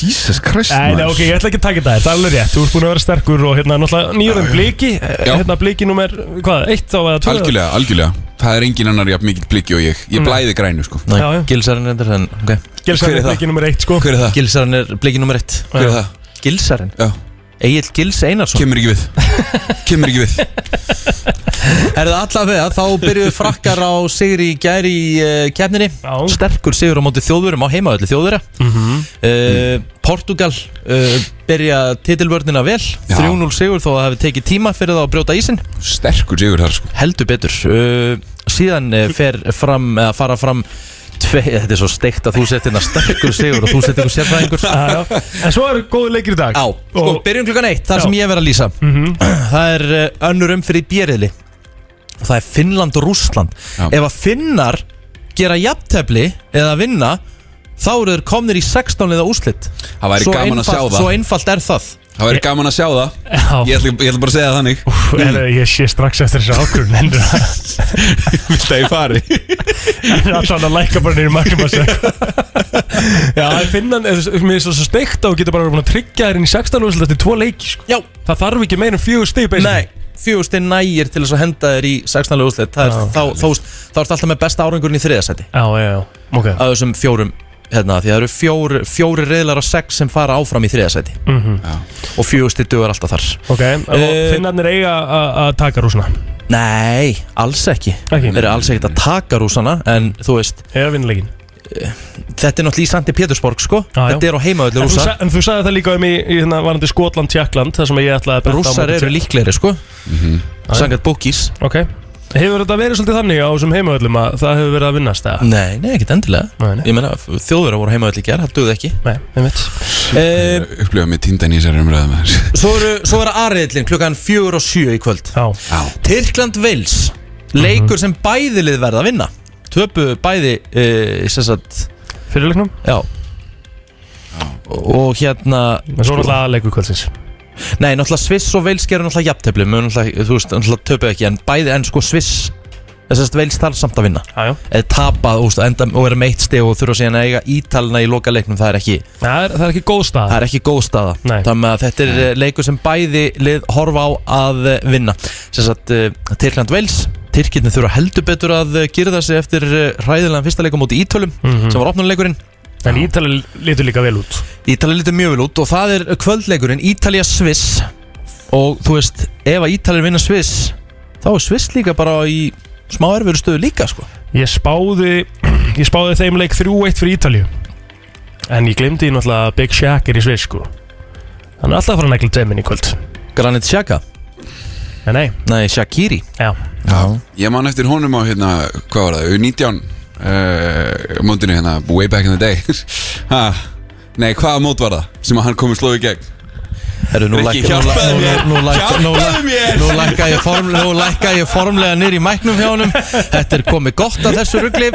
K: Jesus Christ
B: Nei, nei,
K: maður.
B: ok, ég ætla ekki að taka þetta Það er alveg rétt, þú ert búin að vera sterkur og hérna náttúrulega nýjörðum bliki
K: Já.
B: Hérna bliki nummer, hvað, eitt á eða tvö
K: Algjörlega, algjörlega Það er engin annar jafn mikill blikki og ég Ég blæði grænu sko
A: Nei,
B: Já, já.
A: Gilsarinn er þetta, en ok.
K: Hver er
B: Gilsarinn
K: það?
B: bliki nummer eitt, sko
K: Hver er það?
A: Gilsarinn er bleikið nummer eitt.
K: Hver er það?
A: Gilsarinn?
K: Já.
A: Egil Gils Einarsson.
K: Kemur ekki við Kemur ekki við
A: Er það allavega, þá byrjuðu frakkar á sigri í gær í uh, kefninni
B: Já.
A: Sterkur sigur á móti þjóðverum á heimaðalli þjóðverja mm Portugal uh, byrja titilvörnina vel
K: Já.
A: 3-0 sigur þó að það hefði tekið tíma fyrir það að brjóta ísin
K: Sterkur sigur þar sko
A: Heldur betur uh, Síðan uh, fer fram, eða fara fram tve, Þetta er svo steikt að þú settir hérna sterkur sigur og þú settir ykkur sérfræðingur
B: Já, Eh, já. En svo eru góðu leikir í dag
A: Já, sko,
B: Og-
A: byrjum klukkan eitt, það
B: Já.
A: sem ég verð að lýsa
B: Mhm.
A: Það er uh, önnur umfyrir í bjeriðli og það er Finnland og Rússland
K: Já.
A: Ef að Finnar gera jafntefli eða vinna þá eru þeir komnir í 16 liða úslit
K: Það væri gaman að sjá það
A: Svo einfalt er það
K: Það væri gaman að sjá það
B: Já.
K: Ég ætla, ég ætla bara að segja það þannig
B: Úf, er, ég sé strax eftir þessu ákvörðun en
K: Vilt að ég fari?
B: allan að læka bara nýjum magnum að segja
I: Já, ég finna hann, eða, mér er svo steikt á að geta bara verið búin að tryggja þér inn í sextalúðslega eftir tvo leiki, sko.
A: Já.
I: Það þarf ekki meira en fjögur stig, basically.
A: Nei, fjögustinn nægir til þess að henda þér í 16. úrslit Það er þá, þá, þá, þá ertu alltaf með besta árangurinn í þriðasæti
B: Já, já, já, ok
I: Ah.
A: af þessum fjórum hérna, því það eru fjóri, fjóri reyðlar af sex sem fara áfram í þriðasæti
B: mm -hmm.
A: og fjögusti dugar alltaf þar
B: Ok, og
I: Eh,
B: finnarnir eiga að að taka rúsna
A: Nei, alls ekki
B: Ekki?
A: Þeir eru alls ekkert að taka rúsana en þú veist,
B: Eða vinnuleikin
A: þetta er náttúrulega í Sandi Pétursborg sko,
B: Já, já.
A: þetta er á heimaöldu
B: en, þú
A: rúsa
B: sa- en þú sagði það líka um í, í hérna, varandi Skotland, Tjekkland Það sem ég ætlaði að benda á
A: Rússar
B: móti
A: eru
B: til.
A: líklegri sko
B: Mhm.
A: Sangat bókís
B: Ok, hefur þetta verið svolítið þannig á þessum heimavöllum að það hefur verið að vinnast eða?
A: Nei, nei, ekkert endilega
B: Nei, nei,
A: Ég meina, þjóðverðar voru heimaöldu í gerð, það duð ekki
B: nei, ég veit
A: e,
K: Upplifa mig tindan í þessari umræðum
A: Svo eru, svo eru ariðlinn klukkan fjögur og sjö í kvöld
B: Já,
A: Tyrkland Wales
B: Mhm.
A: Leikur sem bæðilið verða að vinna Töpu bæði e, sagt,
B: fyrirleiknum
A: Já Og hérna
B: En svo er alltaf aðleiku kvöldsins
A: Nei, náttúrulega Sviss og Wales gerur náttúrulega jafntefli mun náttúrulega, Þú veist, náttúrulega töpu ekki En bæði, en sko Sviss Þessast Wales þarf samt að vinna
B: Já, já
A: Eða tapa úst, enda, og vera meitt steg og þurfa síðan að eiga ítalina í loka leiknum Það er ekki,
B: Það er, það er ekki góð stað
A: það er ekki góð staða
B: Nei.
A: Þannig að þetta er eh, leikur sem bæði lið horfa á að eh, vinna Sessat uh, Tyrkland Wales Tyrkirni þurfa heldur betur að eh, girða sig eftir eh, hræðilegan fyrsta leikum móti Ítölum sem var opnuleikurinn
B: En Ítali litur líka vel út
A: Ítalið lítur mjög vel út og það er kvöldleikurinn Ítalija Sviss og þú veist, ef að Ítalið vinna Sviss þá er Sviss líka bara í smá erfiður stöðu líka sko
B: Ég spáði, ég spáði þeim leik 3-1 fyrir Ítalíu En ég glemdi náttúrulega að Big Shaq er í Sviss sko Hann er alltaf að fara að negla tveiminn í kvöld
A: Granit Xhaka,
B: En nei,
A: nei Shakiri
B: já,
K: Ég man eftir honum á hérna, hvað var það, U19 uh, Móndinu hérna, way back in the day ha, Nei, hvaða mót var það sem að hann komið slóið í gegn?
A: Herru, nú
K: Rikki,
A: lækka- nú læ-
K: hjálpaðu
A: nú
K: mér.
A: læ- nú lækka- nú læ-
K: Hjálpaðu mér.
A: Nú lækka ég, form, nú lækka ég formlega nýr í mæknum hjá honum Þetta er komið gott af þessu ruggli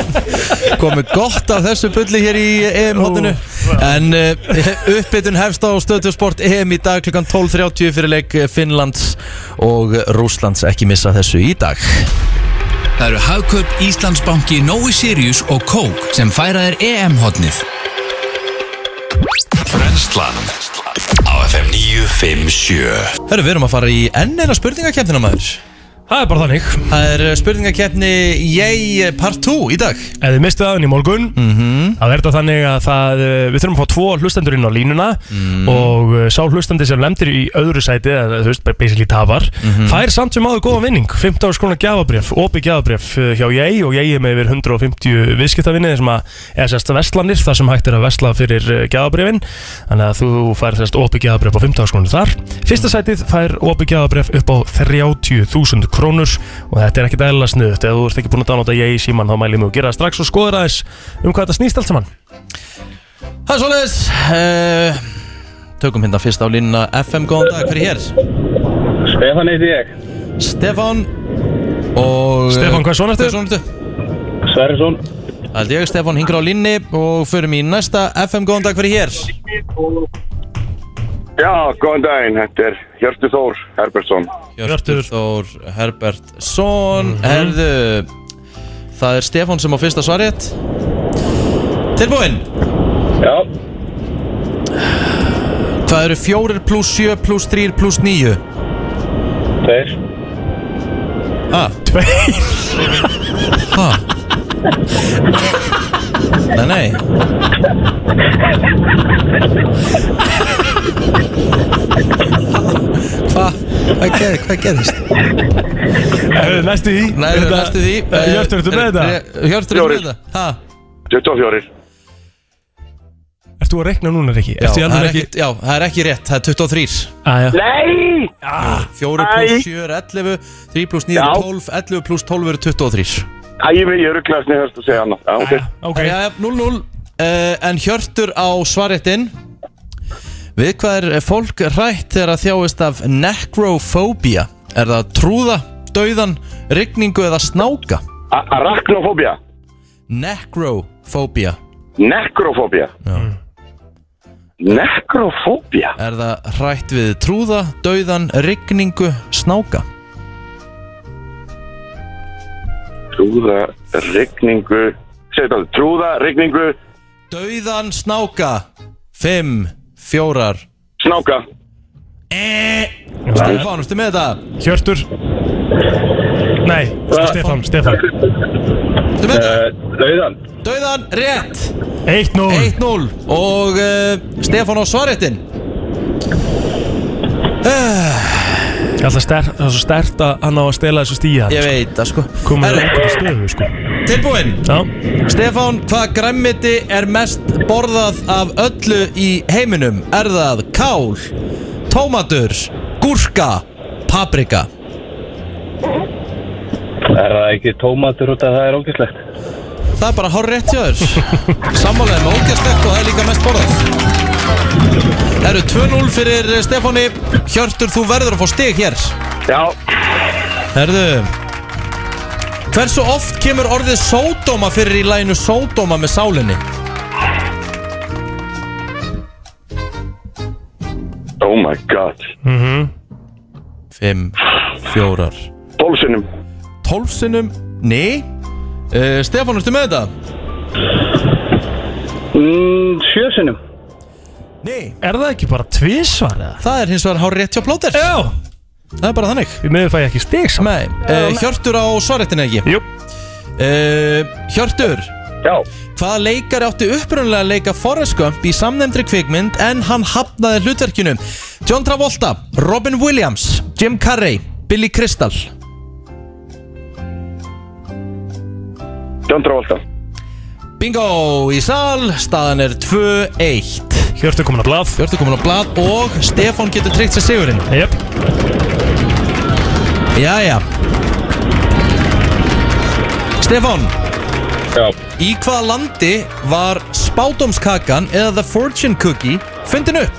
A: Komið gott af þessu bulli hér í E EM-hóttinu En uh, uppbytun hefst á stöðtjósport EM í dag klukkan 12.30 fyrir leik eh, Finnlands og Rúslands Ekki missa þessu í dag
J: Það eru Hagkaup Íslandsbanki Nói Sirius og Kók sem færa þér E EM-hotnið.
E: Brenslan Á FM 957
A: Herru, við erum að fara í enn eina spurningakeppnina maður
B: það er bara þannig
A: Það er eh, spurningakeppni Yay Part 2 í dag
B: Ef þið mistu aðan í morgun Það er þetta þannig að það, eh, við þurfum að fá tvo hlustendur inn á línuna Og eh, sá hlustandi sem lemdir í öðru sæti eða, Þú veist, bara basically tapar Fær samt sem áður góða vinning 15 skrona gjafabrif, opi gjafabrif eh, hjá ég Og ég er með yfir 150 viðskiptavinni þar sem að, eða sérst vestlanir Þar sem hægt er að vestla fyrir gjafabrifin Þannig að þú fær sérst opi gjafabrif á 15 skrona þar Fyrsta sætið fær opi gjafabrif upp á 30.000 krónur Og þetta er ekkit eðla snuðt Ef þú ert ekki búin að dánóta ég í síman Þá mælum við að gera það strax og skoður aðeins Um hvað þetta snýst allt saman
A: Það er svoleiðis uh, Tökum hérna fyrst á línuna FM, góðan dag, hver er hér?
H: Stefán heiti ég,
A: Stefán og... eh,
B: Stefán, hvað svona
A: Hvað
B: ertu?
A: svona ertu?
H: Sverrisson
A: Það er ég, Stefán, hingra á línni og förum í næsta FM, góðan dag, hver er hér?
F: Já, góðan daginn, þetta er Hjörtu Þór Herbertsson.
B: Hjörtur. Mhm.
A: Þór Herbertsson Herðu Það er Stefán sem á fyrsta svarið Tilbúinn
H: Já,
A: Það eru 4 pluss 7 pluss 3 pluss 9
H: þeir
A: Ah. Ha? Nei, nei Hva? Hvað ger, hva gerist?
B: Eh, Næstu því
A: Nei,
B: Er
A: þetta,
B: þetta-
A: næstu því
B: Eh, Hjörtur, ertu með þetta?
A: Hjörtur, ertu
F: Fjórir.
A: með þetta? Ha?
F: 24.
B: Ert þú að rekna núna, Rikki?
A: Já,
B: Ert þú
A: það
B: alveg
A: er
B: ekki
A: ekki, já, það er ekki rétt, það er 23
B: Æja
H: Nei!
A: 4 pluss 7 er 11 3 pluss 9
F: Já.
A: er 12, 11 pluss 12 eru 23
F: Æ, ég veit, ég rugglaðist niður að segja annað. Já, ok.
B: Ok
A: Já, já, 0-0 uh, En Hjörtur á svaréttin Við hvað er fólk rætt þegar að þjáist af necrophobia? Er það trúða, dauðan, rigningu eða snáka?
F: A- Arachnofóbía.
A: Necrophobia
F: Nekrofóbía.
A: Nekrofóbia Er það hrætt við trúða, dauðan, rigningu, snáka?
F: Trúða, rigningu Segðu þetta, trúða, rigningu
A: Dauðan, snáka Fimm, fjórar
F: Snáka
A: Stefán, ertu með þetta?
B: Hjörtur Nei, Stefán, Stefán
A: Ertu með
F: Eh.
A: þetta?
F: Dauðan
A: Dauðan, rétt
B: 1-0
A: 1-0 Og uh, Stefán á svarréttin
B: Það er alltaf sterk- það er svo stert að hann á að stela þessu stíja
A: Ég veit það sko
B: Komum við
A: Herru.
B: einhverju stöðu sko
A: Tilbúinn
B: Já
A: Stefán, hvað græmmiti er mest borðað af öllu í heiminum? Er það kál, tómatur, gúrka, paprika?
L: Er það ekki tómatur út af það er ógæslegt?
A: Það er bara hár rétt hjá þér Sammálaðið með ógæstlegt og það er líka mest borðað Það eru 2-0 fyrir Stefáni Hjörtur, þú verður að fá stig hér
F: Já
A: Herðu Hversu oft kemur orðið sódóma fyrir í læginu sódóma með sálinni?
F: Oh my god
A: Fimm, fjórar
F: Tólfsinnum
A: Tólfsinnum? Nei uh, Stefán, ertu með þetta?
L: Mm, Sjösunum
A: Nei
B: Er það ekki bara tvísvar eða?
A: Það er hins vegar hár rétt hjá plóter
B: Já
A: Það er bara þannig
B: Við meður fæ ég ekki stig samt
A: Nei, uh, Hjörtur á svarréttin ekki?
B: Jú
A: uh, Hjörtur
F: Já
A: Hvaða leikari átti upprunlega að leika Forrest Gump í samnefndri kvikmynd en hann hafnaði hlutverkinu John Travolta, Robin Williams, Jim Carrey, Billy Crystal
F: John Travolta
A: Bingo í sal, staðan er 2-1
B: Hjörtur komin á blað
A: Hjörtur komin á blað og Stefán getur tryggt sér sigurinn
B: Jöp
A: Jæja Stefán
F: Já
A: Í hvaða landi var spátumskakan eða the fortune cookie fundin upp?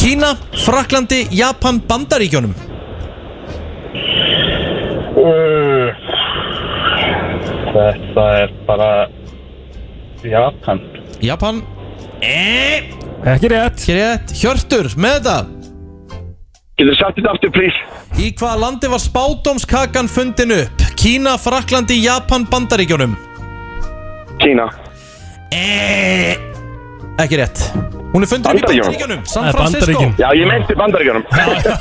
A: Kína, Fraklandi, Japan, Bandaríkjónum
L: Þetta er bara Japan
A: Japan
B: Ekki rétt
A: Ekki rétt Hjörtur, með þetta
F: Getur sagt þetta aftur, please
A: Í hvaða landi var spátumskakan fundin upp? Kína, Fraklandi, Japan, Bandaríkjónum
F: Kína
A: Eh, Ekki rétt Hún er fundin upp í Bandaríkjónum San
B: Eh,
A: Francisco
F: Já, ég meinti bandaríkjónum
A: Já,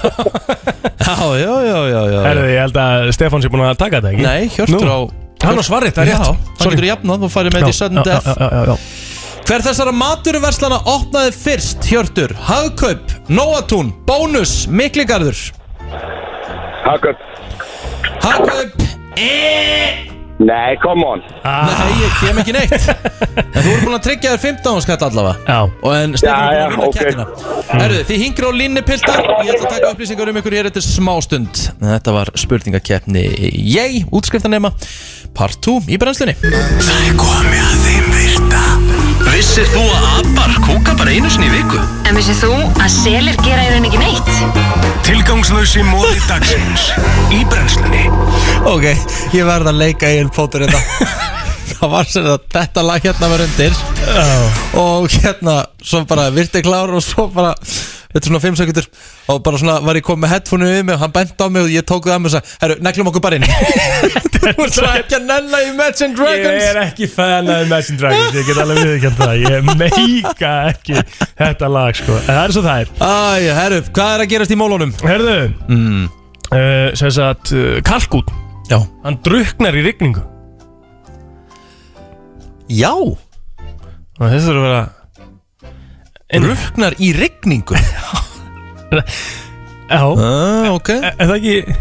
A: já, já, já, já.
B: Herðu, ég held að Stefán sé búin að taka þetta, ekki?
A: Nei, Hjörtur
B: Nú.
A: á
B: Hann á svarrið, það er rétt
A: Já, svo getur jafnað, þú færir með þetta í sudden death
B: Já, já, já, já
A: Hver þessara maturverslana opnaði fyrst, Hjörtur? Hagkaup, Nóatún, Bónus, Mikligarður
F: Hakkar
A: Hagkaup
F: Nei, come on
A: Nei, ég kem ekki neitt En þú eru búin að tryggja þér 15 skatt allavega
B: Já,
A: Og en Stefán
F: Já,
A: er búin að vinna
F: já,
A: okay. kettina Herðu, þið hingir á línni piltar Ég ætla að taka upplýsingar um ykkur hér eftir smástund Þetta var spurningakeppni Ég, útskriftanema Part 2 í brennslunni
E: Það er komið að þeim virta Vissir þú að abar kúka bara einu sinni í viku?
M: En vissið þú að selir gera í raun ekki neitt?
E: Tilgangslösi móði dagsins Í brennslunni
A: Ok, ég verð að leika í einn fótur þetta Það var sem þetta, þetta lag hérna var undir Og hérna, svo bara virti klár og svo bara Þetta er svona 5 sekundur Og bara svona var ég komið með headphoneu við mig og hann bent á mig og ég tók það að mig og sagði Herru, neglum okkur bara inn Þú ert svo ekki að nenna í Imagine Dragons
B: Ég er ekki fan af Imagine Dragons Ég get alveg viðkjönd það Ég meika ekki þetta lag sko. En það er svo það er
A: Æ, herru, hvað er að gerast í mólunum?
B: Herðu mm. uh, Sess að uh, Kalkún
A: Já.
B: Hann druknar í rigningu
A: Já,
B: Og Þetta þurfa að vera
A: ruknar í rigningu
B: Já
A: ah, Ok
B: Er er það ekki Já,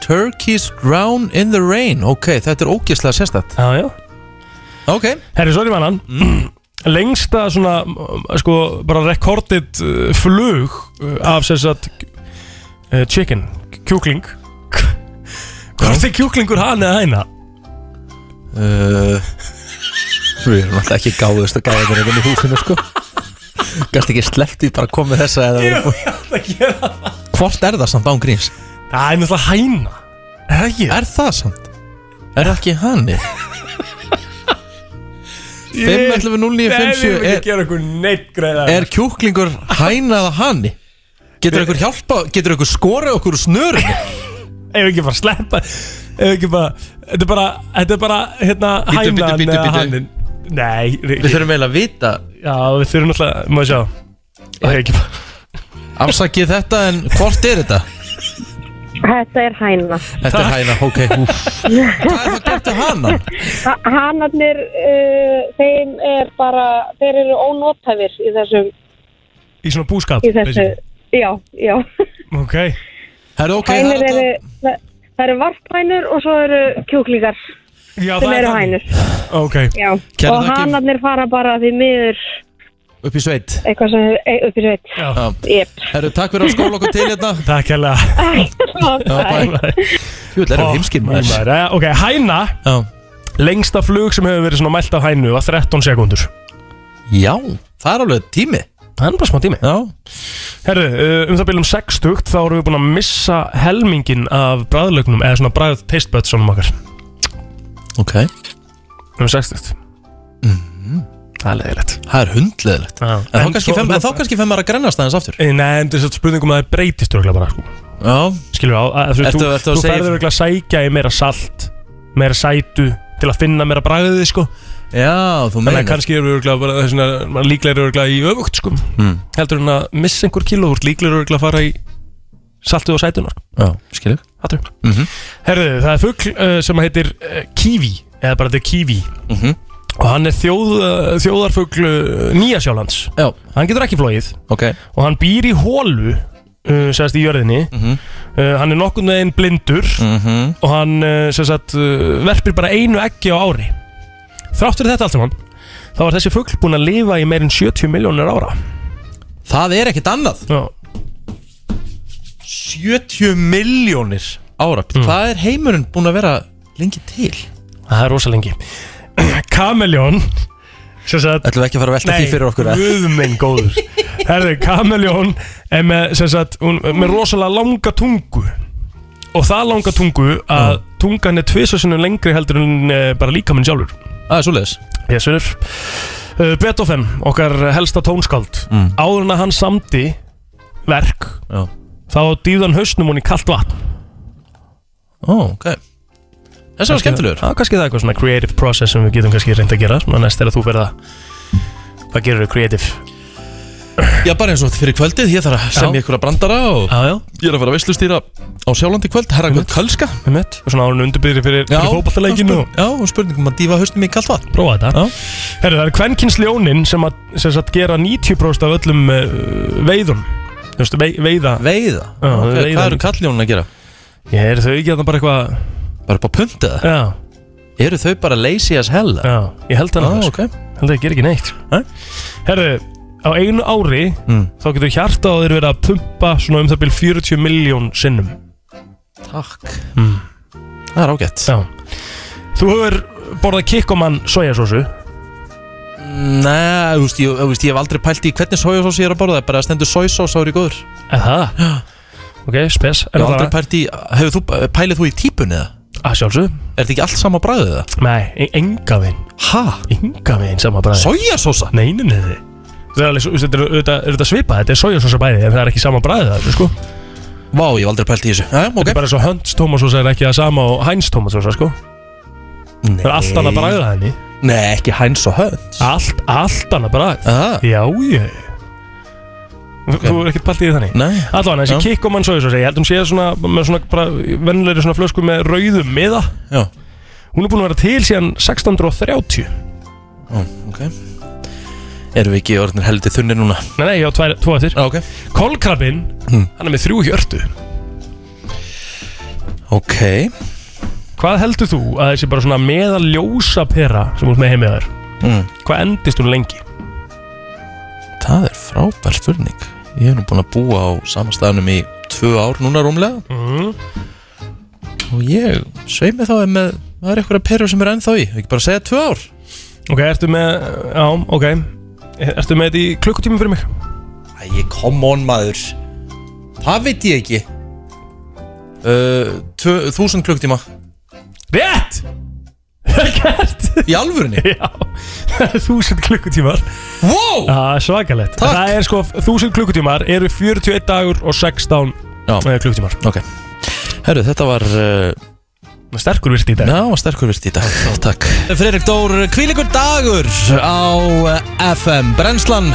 A: Turkeys drown in the rain Ok, þetta er ógislega sérstætt
B: já
A: Ok
B: Herri, sorry mannan Lengsta svona m- Sko bara rekordið uh, flug uh, Af sess að uh, Chicken Kjúkling Hvort er kjúklingur hann eða hæna?
A: Uh, Við erum alltaf ekki gáðust að gáða þeirra í húsinu sko Gast ekki sleppt í bara að koma með þessa eða
B: Ég
A: verið búið
B: ætla að gera það
A: Hvort er það samt án gríns?
B: Það er náttúrulega hæna Er það ekki?
A: Er það samt? Er það ekki hann?
B: Nei, við erum
A: 5.11.09.57
B: ekki
A: er,
B: að gera okkur neitt greiða
A: er kjúklingur hænaða hanni? Getur ykkur hjálpa, getur ykkur skora okkur úr snörinu?
B: Ef ekki bara sleppa Ef ekki bara Þetta er bara Þetta er bara Hérna
A: Bíddu, bíddu,
B: hænan
A: bíddu,
B: eða
A: bíddu.
B: hannin Nei Við
A: þurfum eiginlega að vita
B: Já við þurfum náttúrulega Má sjá Það er ekki bara
A: Afsakið þetta en hvort er þetta?
N: Þetta er hæna.
A: Þetta er hæna, ok úff.
N: Hvað er það gert við
A: hana?
N: Hanarnir, uh, þeim er bara, þeir eru ónótæfir í þessum,
B: Í svona búskap
N: í þessu, já, já.
B: Ok
A: Herru ok
N: Hænur eru, það eru varphænur og svo eru kjúklingar
B: Já,
N: sem
B: það er
N: eru
B: þannig.
N: hænur.
B: Ok
N: Já,
A: Kæra
N: og
A: þakkir.
N: hanarnir fara bara því miður
A: Upp í sveit
N: eitthvað sem e, upp í sveit.
A: Já.
N: Jep.
A: Herru, takk fyrir að skóla okkur til hérna
B: Takk hérlega
A: Jú, það eru heimskinn maður
B: maður eh, Ok, hæna
A: Já.
B: Lengsta flug sem hefur verið svona mælt af hænu var 13 sekundur
A: Já, það er alveg tími
B: Það er bara smá tími
A: Já
B: Herru, eh, um það byrjum 60 Þá erum við búin að missa helmingin af bræðlögnum Eða svona bræð tastebötsónum okkar
A: Ok
B: Um 60 Mhm. Það er leðilegt
A: Það er hundleðilegt
B: En,
A: þá kannski fer- en þá
B: kannski fem maður að grennast aðeins aftur Eh, Nei, en þess að spurningum að það breytist örgulega bara sko.
A: Já
B: Skilur á, að, þú,
A: Ertu-
B: þú,
A: ertu að
B: þú
A: segja-
B: ferður örgulega að sækja í meira salt Meira sætu Til að finna meira bragðið sko.
A: Já, þú
B: Þannig
A: meinar.
B: að kannski erum við örgulega bara þess vegna Líklega erum við örgulega í öfugt sko.
A: Mm.
B: Heldur en að missa einhver kíló Þú ert líklega örgulega að fara í saltið og sætuna sko.
A: Já, skilur
B: Hattu
A: mm -hmm.
B: Herðu, það er fuggl uh, sem heitir uh, Kiwi Eða bara The Kiwi
A: Mhm.
B: Og hann er þjóð, uh, þjóðarfugl uh, Nýjasjálands
A: Já.
B: Hann getur ekki flóið
A: okay.
B: Og hann býr í hólu uh, Sérst í jörðinni uh, Hann er nokkurn veginn blindur
A: Mhm.
B: Og hann uh, sérst, uh, verpir bara einu eggi á ári Þrátt fyrir þetta allt saman Þá var þessi fugl búinn að lifa í meirinn 70 miljónir ára
A: Það er ekkert annað
B: Já
A: 70 miljónir ára Hvað er heimurinn búin að vera lengi til?
B: Það er rosa lengi Kameljón
A: við
B: Ætlum
A: ekki að fara að velta því fyrir okkur, eða?
B: Nei, guðmenn góður Herðu, kameljón er með, sem sagt, hún, með rosalega langa tungu Og það langa tungu að tungan er tvisasunum lengri heldur en eh, bara líkaminn sjálfur
A: Það er svoleiðis
B: Yes, sir uh, Beethoven, okkar helsta tónskáld
A: Mm.
B: Áður en að hann samdi verk
A: Já.
B: Þá dýðan hausnum hún í kalt vatn
A: Ó, ok Þessi var skemmtilegur
B: Já, kannski það er eitthvað svona creative process sem við getum kannski reynd að gera Svona næst er að þú verða Hvað gerir þau creative?
A: Já, bara eins og fyrir kvöldið, ég þarf að semja ykkur að brandara og
B: já, já.
A: ég er að fara að veslustýra á sjálfandi í kvöld, herra kvöld kölska
B: Við mitt, og svona árun undirbyðri fyrir, fyrir fótballtaleikinu og...
A: Já, og spurningum að dífa haustum í kalt vatn
B: Prófa þetta Herru, það er kvenkinsljónin sem að sem sagt, gera 90% af öllum uh, veiðum Þú veist, vei, veiða
A: Veiða?
B: Já,
A: Ok,
B: veiða
A: Hvað eru kalljónin að gera?
B: Ég er þau ekki að bara eitthvað
A: Bara upp á puntið
B: Já
A: Eru þau bara lazy as hell?
B: Já, ég held það
A: Ah,
B: nefnilega,
A: ok.
B: sko. Held að ég ger ekki neitt Herru, á einu ári þá getur hjarta á þeir verið að pumpa svona um það byrjum 40 miljón sinnum
A: Takk
B: mm.
A: Það er ágætt
B: Já Þú hefur borðað kikkomann sojasósu
A: Nei, þú veist, ég, þú veist, ég hef aldrei pælt í hvernig sojasós ég er að borða Það er bara að stendur sojasós ári góður
B: Eða það? Ok, spes
A: Ég hef aldrei pælt í, hefur þú, pælið þú í típun eða?
B: Að sjálfsög
A: Er þetta ekki allt sama bræðið það?
B: Nei, e- enga veginn
A: Hæ?
B: Enga veginn sama bræði
A: Sojasósa?
B: Nei, nei, nei nei. Það er alveg, svo- þetta er auðvitað- auðvitað svipað Þetta er sojasósa bæði En það er ekki sama bræði það, sko
A: Vá, ég hef aldrei pælt í þessu ja, okay.
B: Þetta er bara svo Hunts tómasósa er ekki það sama og Heinz tómasósa, sko
A: Nei.
B: Það er allt annað bræðið henni
A: Nei, ekki Heinz og Hunts
B: Allt, allt annað bræðið
A: ah.
B: Já, ég Þú er ekkert pælt í því þannig
A: Nei
B: Allan, þessi kikkomann sojasósa Ég held um séð svona Með svona bara Vennulegri svona flösku með rauðum miða
A: Já
B: Hún er búin að vera til síðan 1630
A: Ó, ok Erum við ekki orðinir heldur þunni núna?
B: Nei, nei, ég á tvær- tvo eftir
A: okay.
B: Kolkrabbin,
A: Hm.
B: hann er með þrjú hjörtu
A: Ok
B: Hvað heldur þú að þessi bara svona meðal ljósa pera sem hún með heimið þér
A: Mm.
B: Hvað endist hún lengi?
A: Það er frábær spurning Ég hef nú búin að búa á sama staðnum í tvö ár núna rúmlega
B: mm.
A: Og ég svei mig þá ef með Það er eitthvað perur sem er ennþá í Ekki bara segja tvö ár
B: Ok, ertu með, já, ok Ertu með þetta í klukkutími fyrir mig?
A: Æ, come on maður Það veit ég ekki uh, tvö- Þúsund klukktíma
B: Rétt! Gert!
A: Í alvörunni?
B: Já 1000 klukkutímar
A: Wow!
B: Svakalett
A: Takk.
B: Það er sko 1000 klukkutímar eru 41 dagur og 16 eh, klukkutímar
A: Ok Herru, þetta var uh,
B: Sterkur virt í dag
A: Já, var sterkur virt í dag Takk
O: Freirik Dór, kvílikur dagur á
A: eh,
O: FM Brennslan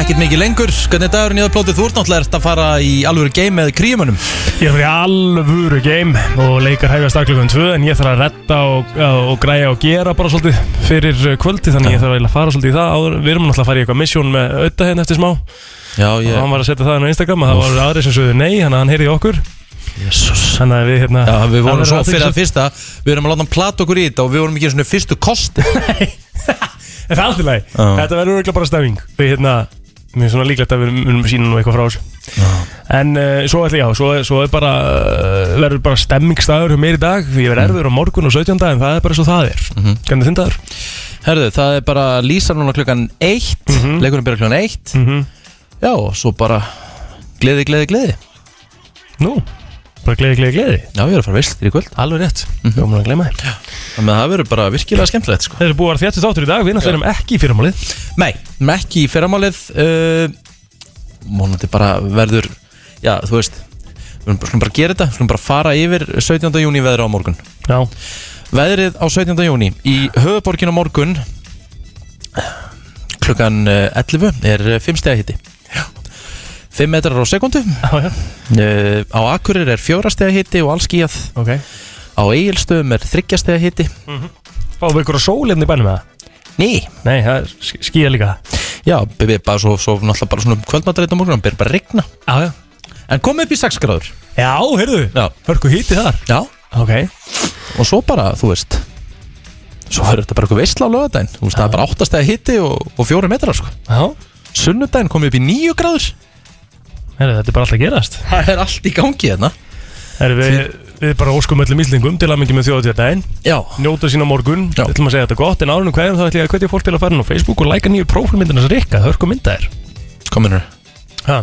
A: Ekkert mikið lengur Hvernig er dagurinn í það plótið? Þú ert náttúrulega ert að fara í alvöru game með kríumunum
B: Ég er fyrir alvöru game og leikar hefjast að klukkan 2 en ég þarf að retta og, og græja og gera bara svolítið fyrir eh, kvöldi þannig ég þarf eiginlega að fara svolítið í það áður. Við erum náttúrulega að fara í eitthvað misjón með auðda hérna eftir smá
A: Já,
B: og hann var að setja það inn á Instagram og það var aðri sem sögðu nei, þannig að hann heyrði í okkur
A: Jesus.
B: Þannig að við hérna
A: Já, við
B: hann
A: vorum
B: verður
A: svo fyrir
B: athyglisvert.
A: að fyrsta Við erum að láta hann plata okkur í þetta og við vorum ekki einu svona fyrstu kosti
B: En Það er alltaf leið,
A: Já.
B: þetta verður örgulega bara stefning Við hérna, mér er svona líklegt að við munum sína nú eitthvað frá þessu En uh, svo ætla ég á, svo, svo er bara uh, verður bara stemmingstaður hjá mér í dag Því ég verð erfiður á morgun og 17. en það er bara svo það er Hvernig þinn dagur?
A: Herðu, það er bara Lísa núna klukkan 1 Leikurinn byrja klukkan 1 Já, og svo bara Gleði, gleði, gleði
B: Nú, bara gleði, gleði, gleði
A: Já, ég er að fara veist í kvöld
B: Alveg rétt, mm -hmm. að gleyma þér
A: Þannig að það verður bara virkilega skemmtilegt sko.
B: Þeir eru búið að vera þjáttu þáttur í dag, við náttúrulega erum ekki í fyrramálið
A: Nei, við erum ekki í fyrramálið uh, Mónandi bara verður Já, þú veist Við erum bara, skulum bara gera þetta, við skulum bara fara yfir 17. júni veðrið á morgun
B: Já.
A: Veðrið á 17. júni Í höfuborgin á morgun Klukkan eh, 11 er 5 stega hitti 5 metrar á sekundu
B: já, já.
A: Á Akurir er 4 stega hitti og allskíjað
B: okay.
A: Á Egilstöðum er 3 stega hitti
B: Mhm. Fáum við ykkur að sól hérna í bænum eða?
A: Nei
B: Nei, það er skýja líka
A: Já, byrja bara svo, svo náttúrulega bara svona kvöldmatarreit á morgun Það byrja bara að rigna
B: Já,
A: já En komið upp í 6 gráður
B: Já, heyrðu,
A: já.
B: hörku híti þar
A: Já
B: Ok
A: Og svo bara, þú veist Svo verður þetta bara eitthvað veistla á lögadaginn Þú veist, það er bara 8 stegi hitti og, og 4 metrar sko
B: Já
A: Sunnudaginn komið upp í 9 gráður
B: Heyrðu, þetta er bara alltaf að gerast
A: Það er allt í gangi hérna
B: Heyrðu, við, við bara óskum öllum íslingum til að mingi með þjóðatíðardaginn
A: Já
B: Njóta sín á morgun, við ætlum að segja þetta gott En árunum hverjum þá ætlum ég að hvetja fólk til að fara inn á Facebook Og læka nýju prófilmyndina sem Rikka, hörku mynda er
A: Kominur
B: Ha?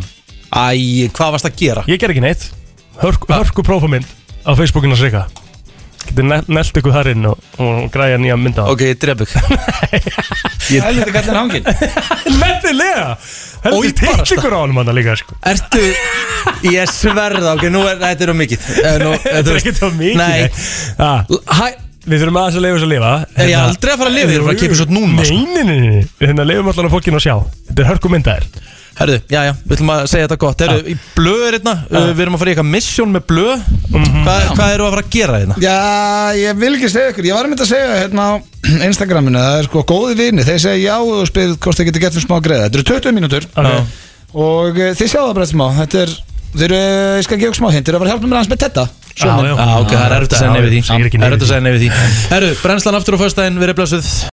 A: Æ, hvað varst að gera?
B: Ég ger ekki neitt Hörku, hörku prófamynd á Facebookinu hans Rikka Getur nelt ykkur þar inn og, og græja nýja mynda
A: Ok, ég dref ykkur Ég- Helviti
B: kallar hangin Nefnilega Helviti teitt ykkur á honum hann líka sko.
A: Ertu Ég sverða, ok, nú er þetta er of mikið Eh,
B: Þetta er ekkert á mikið
A: Nei
B: nei.
A: Hæ
B: Við þurfum aðeins að leifa þess að lifa
A: Ég er aldrei að fara að lifa, ég er að fara að kippa svo núna,
B: Nei,
A: sko.
B: nei, nei, nei, við hérna leifum allan að fólkinu að sjá Þetta er hörku myndaðir
A: Herðu, já, já, við ætlum að segja þetta gott Herðu, í blöð er hérna uh, Við erum að fara í eitthvað misjón með blöð Hva, Hvað eru að fara að gera hérna?
P: Já, ég vil ekki segja ykkur, ég var einmitt að segja hérna á Instagraminu, það er sko góði vini, þeir segja já og spyrir hvort þeir geta gett fyrir smá greiða, þetta eru 20 mínútur
B: okay.
P: og e, þið sjáðu það bara eftir smá, þetta er, þeir eru, eh, ég skal gefa ykkur smá hint, þeir eru að fara að hjálpa mér aðeins með þetta
A: Já, ok, það er erfitt að segja nefið því Það er erfitt að segja nefið því Herru, brennslan aftur á föstudaginn, við erum blessuð